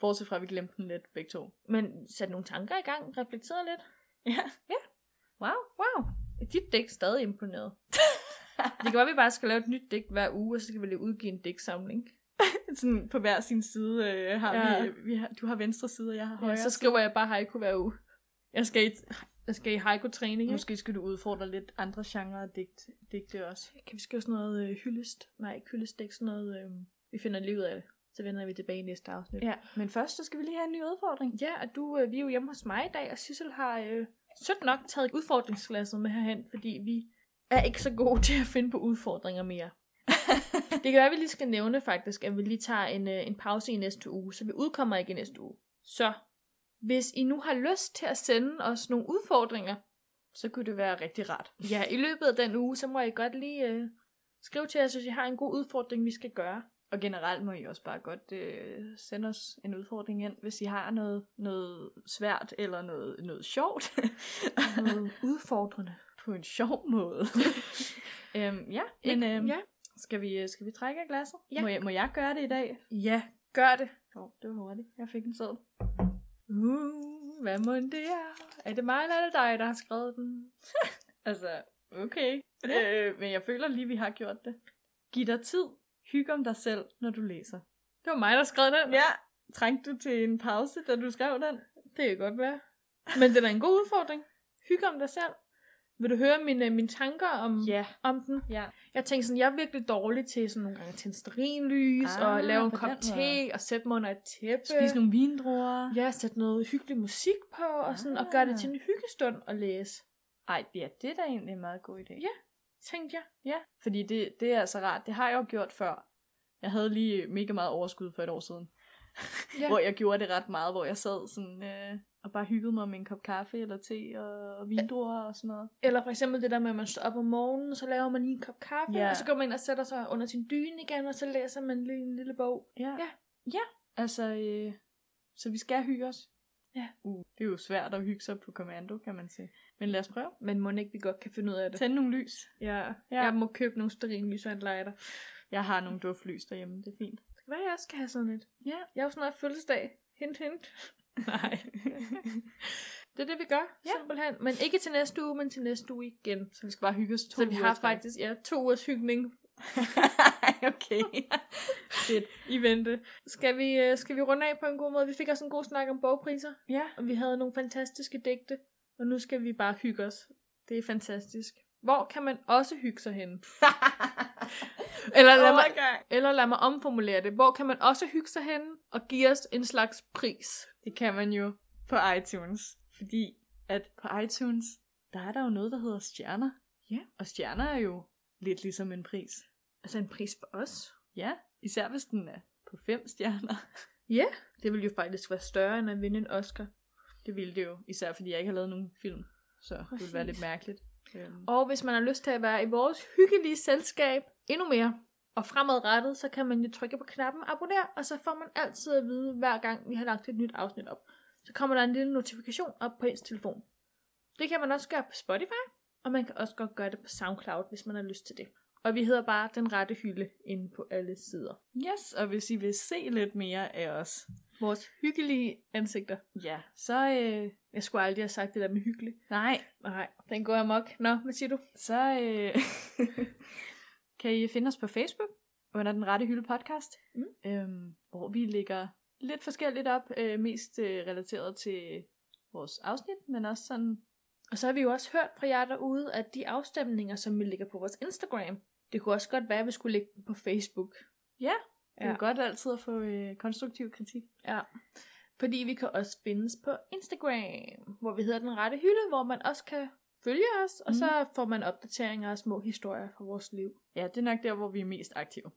Speaker 1: Bortset fra, at vi glemte den lidt begge to.
Speaker 2: Men satte nogle tanker i gang, reflekterede lidt.
Speaker 1: Ja.
Speaker 2: Wow, wow. Dit dæk stadig imponeret. Det kan være, vi bare skal lave et nyt digt hver uge, og så skal vi lige udgive en digtsamling.
Speaker 1: Sådan på hver sin side øh, har
Speaker 2: Ja.
Speaker 1: ja. vi, vi har, du har venstre side, og jeg har højre.
Speaker 2: Ja, så skriver jeg bare haiku hver uge. Jeg skal i, jeg skal i haiku-træning, ikke?
Speaker 1: Måske skal du udfordre lidt andre genrer af digt, digte også.
Speaker 2: Kan vi skrive sådan noget øh, hyldest? Nej, ikke hyldest, det er ikke sådan noget... Øh, vi finder lige ud af det. Så vender vi tilbage i næste afsnit.
Speaker 1: Ja, men først så skal vi lige have en ny udfordring.
Speaker 2: Ja, og du, øh, vi er jo hjemme hos mig i dag, og Sissel har øh, sødt nok taget udfordringsglasset med herhen, fordi vi er ikke så gode til at finde på udfordringer mere. det kan være, at vi lige skal nævne faktisk, at vi lige tager en, øh, en pause i næste uge, så vi udkommer ikke i næste uge. Så hvis I nu har lyst til at sende os nogle udfordringer,
Speaker 1: Så kunne det være rigtig rart.
Speaker 2: ja, i løbet af den uge, så må I godt lige øh, skrive til os, hvis I har en god udfordring, vi skal gøre.
Speaker 1: Og generelt må I også bare godt øh, sende os en udfordring ind, hvis I har noget, noget svært eller noget, noget sjovt.
Speaker 2: Noget udfordrende.
Speaker 1: På en sjov måde. øhm, ja, men øhm, ja. Skal, vi, øh, skal vi trække af glasset?
Speaker 2: Ja.
Speaker 1: Må, jeg, må jeg gøre det i dag?
Speaker 2: Ja, gør det.
Speaker 1: Åh, oh, det var hurtigt. Jeg fik en sæd.
Speaker 2: Uh, hvad må det er? Er det mig eller er det dig, der har skrevet den?
Speaker 1: Altså, okay. øh, men jeg føler lige, vi har gjort det. Giv dig tid. Hyg om dig selv, når du læser.
Speaker 2: Det var mig, der skrev den.
Speaker 1: Ja. Trængte du til en pause, da du skrev den?
Speaker 2: Det kan godt være. Men det er da en god udfordring. Hyg om dig selv. Vil du høre mine, mine tanker om,
Speaker 1: Ja.
Speaker 2: om den?
Speaker 1: Ja.
Speaker 2: Jeg tænkte sådan, jeg er virkelig dårlig til sådan nogle gange at tænde sterinlys, ah, og
Speaker 1: Ah,
Speaker 2: lave en
Speaker 1: på
Speaker 2: kop
Speaker 1: den
Speaker 2: te, og sætte mig under et tæppe.
Speaker 1: Spis nogle vindruer.
Speaker 2: Ja, sætte noget hyggelig musik på, og, sådan, og gøre det
Speaker 1: Ah.
Speaker 2: til en hyggestund at læse.
Speaker 1: Ej, ja, det er da egentlig en meget god idé.
Speaker 2: Ja. Tænkte jeg.
Speaker 1: ja. Fordi det, det er altså rart. Det har jeg jo gjort før. Jeg havde lige mega meget overskud for et år siden.
Speaker 2: Ja.
Speaker 1: Ja. Hvor jeg gjorde det ret meget, hvor jeg sad sådan, øh, og bare hyggede mig med en kop kaffe eller te og, og vindruer og sådan noget.
Speaker 2: Eller for eksempel det der med, at man står op om morgenen, så laver man lige en kop kaffe,
Speaker 1: Ja.
Speaker 2: og så går man ind og sætter sig under sin dyne igen, og så læser man lige en lille bog.
Speaker 1: Ja.
Speaker 2: Ja.
Speaker 1: Ja. ja. Altså, øh, så vi skal hygge os.
Speaker 2: Ja.
Speaker 1: Uh, det er jo svært at hygge sig på kommando, kan man sige. Men lad os prøve.
Speaker 2: Men må ikke, vi godt kan finde ud af det.
Speaker 1: Tænd nogle lys.
Speaker 2: Ja.
Speaker 1: Ja.
Speaker 2: Jeg må købe nogle sterinlys og en lighter.
Speaker 1: Jeg har nogle duftlys derhjemme, det er fint.
Speaker 2: Det kan være, jeg også skal have sådan et.
Speaker 1: Ja.
Speaker 2: Jeg har jo snart fødselsdag. Hint, hint. Nej. det er det, vi gør,
Speaker 1: Ja.
Speaker 2: ja. simpelthen. Men ikke til næste uge, men til næste uge igen.
Speaker 1: Så vi skal bare hygge os to
Speaker 2: så vi
Speaker 1: uger
Speaker 2: har
Speaker 1: efter.
Speaker 2: faktisk ja, to ugers hygning
Speaker 1: okay. Fedt.
Speaker 2: i vente. Skal vi, øh, skal vi runde af på en god måde? Vi fik også en god snak om bogpriser.
Speaker 1: Ja.
Speaker 2: Og vi havde nogle fantastiske digte, og nu skal vi bare hygge os. Det er fantastisk. Hvor kan man også hygge sig henne? Eller lad, mig, eller lad mig omformulere det. Hvor kan man også hygge sig henne og give os en slags pris?
Speaker 1: Det kan man jo på iTunes. Fordi at på iTunes, der er der jo noget, der hedder stjerner.
Speaker 2: Ja.
Speaker 1: Og stjerner er jo lidt ligesom en pris.
Speaker 2: Altså en pris for os?
Speaker 1: Ja. Især hvis den er på fem stjerner.
Speaker 2: Ja. Det ville jo faktisk være større end at vinde en Oscar.
Speaker 1: Det ville det jo. Især fordi jeg ikke har lavet nogen film. Så det ville være
Speaker 2: Præcis.
Speaker 1: lidt mærkeligt. Øhm,
Speaker 2: Og hvis man har lyst til at være i vores hyggelige selskab endnu mere, og fremadrettet, så kan man jo trykke på knappen abonner, og så får man altid at vide, hver gang vi har lagt et nyt afsnit op. Så kommer der en lille notifikation op på ens telefon. Det kan man også gøre på Spotify, og man kan også godt gøre det på SoundCloud, hvis man har lyst til det. Og vi hedder bare Den Rette Hylde inde på alle sider.
Speaker 1: Yes, og hvis I vil se lidt mere af os,
Speaker 2: Vores hyggelige ansigter.
Speaker 1: ja, så, øh,
Speaker 2: Jeg skulle aldrig have sagt det der med hyggelig.
Speaker 1: nej,
Speaker 2: Nej, den går amok. Nå, hvad siger du?
Speaker 1: så øh, kan I finde os på Facebook under Den Rette Hylde Podcast,
Speaker 2: Mm.
Speaker 1: øhm, hvor vi lægger lidt forskelligt op, øh, mest øh, relateret til vores afsnit, men også sådan,
Speaker 2: Og så har vi jo også hørt fra jer derude, at de afstemninger, som vi lægger på vores Instagram, det kunne også godt være, at vi skulle lægge dem på Facebook.
Speaker 1: ja, det er
Speaker 2: Ja.
Speaker 1: jo godt altid at få øh, konstruktiv kritik.
Speaker 2: Ja. Fordi vi kan også findes på Instagram, hvor vi hedder Den Rette Hylde, hvor man også kan følge os, og
Speaker 1: Mhm.
Speaker 2: så får man opdateringer og små historier fra vores liv.
Speaker 1: Ja, det er nok der, hvor vi er mest aktive.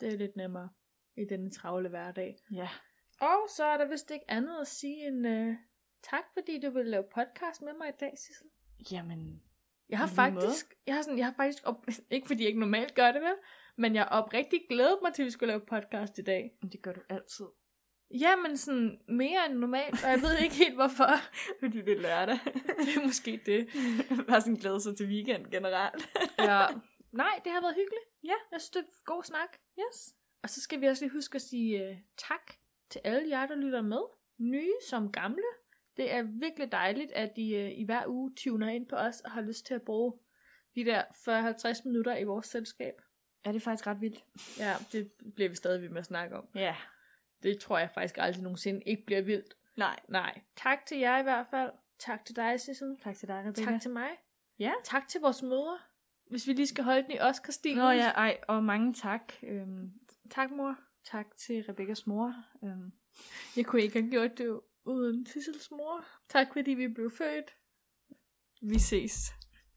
Speaker 2: Det er lidt nemmere i denne travle hverdag.
Speaker 1: Ja,
Speaker 2: Og så er der vist ikke andet at sige end øh, tak, fordi du ville lave podcast med mig i dag, Sissel.
Speaker 1: jamen,
Speaker 2: Jeg har
Speaker 1: I lige måde.
Speaker 2: faktisk, jeg har, sådan, jeg har faktisk op, ikke fordi jeg ikke normalt gør det vel, men jeg har oprigtigt glædet mig til, at vi skulle lave podcast i dag.
Speaker 1: det gør du altid,
Speaker 2: Ja, men sådan mere end normalt, og jeg ved ikke helt hvorfor.
Speaker 1: fordi det er lørdag.
Speaker 2: det er måske det.
Speaker 1: Bare sådan glæde sig til weekend generelt.
Speaker 2: Ja. Nej, det har været hyggeligt.
Speaker 1: Ja.
Speaker 2: Jeg synes, det er god snak.
Speaker 1: Yes.
Speaker 2: Og så skal vi også lige huske at sige uh, tak til alle jer, der lytter med. Nye som gamle. øh, Det er virkelig dejligt, at I uh, i hver uge tuner ind på os og har lyst til at bruge de der 40-50 minutter i vores selskab.
Speaker 1: Ja, det er faktisk ret vildt.
Speaker 2: Ja, det bliver vi stadig ved med at snakke om.
Speaker 1: Ja.
Speaker 2: Det tror jeg faktisk aldrig nogensinde ikke bliver vildt.
Speaker 1: Nej.
Speaker 2: Nej. Tak til jer i hvert fald. Tak til dig, Sissel.
Speaker 1: Tak til dig, Rebecca.
Speaker 2: Tak til mig.
Speaker 1: Ja.
Speaker 2: Tak til vores mødre. Hvis vi lige skal holde den i Oscar-stilen.
Speaker 1: Nå ja, ej, og mange tak. Øhm,
Speaker 2: Tak, mor.
Speaker 1: tak til Rebekkas mor. Øhm,
Speaker 2: Jeg kunne ikke have gjort det uden Sissels mor. Tak fordi vi blev født.
Speaker 1: vi ses.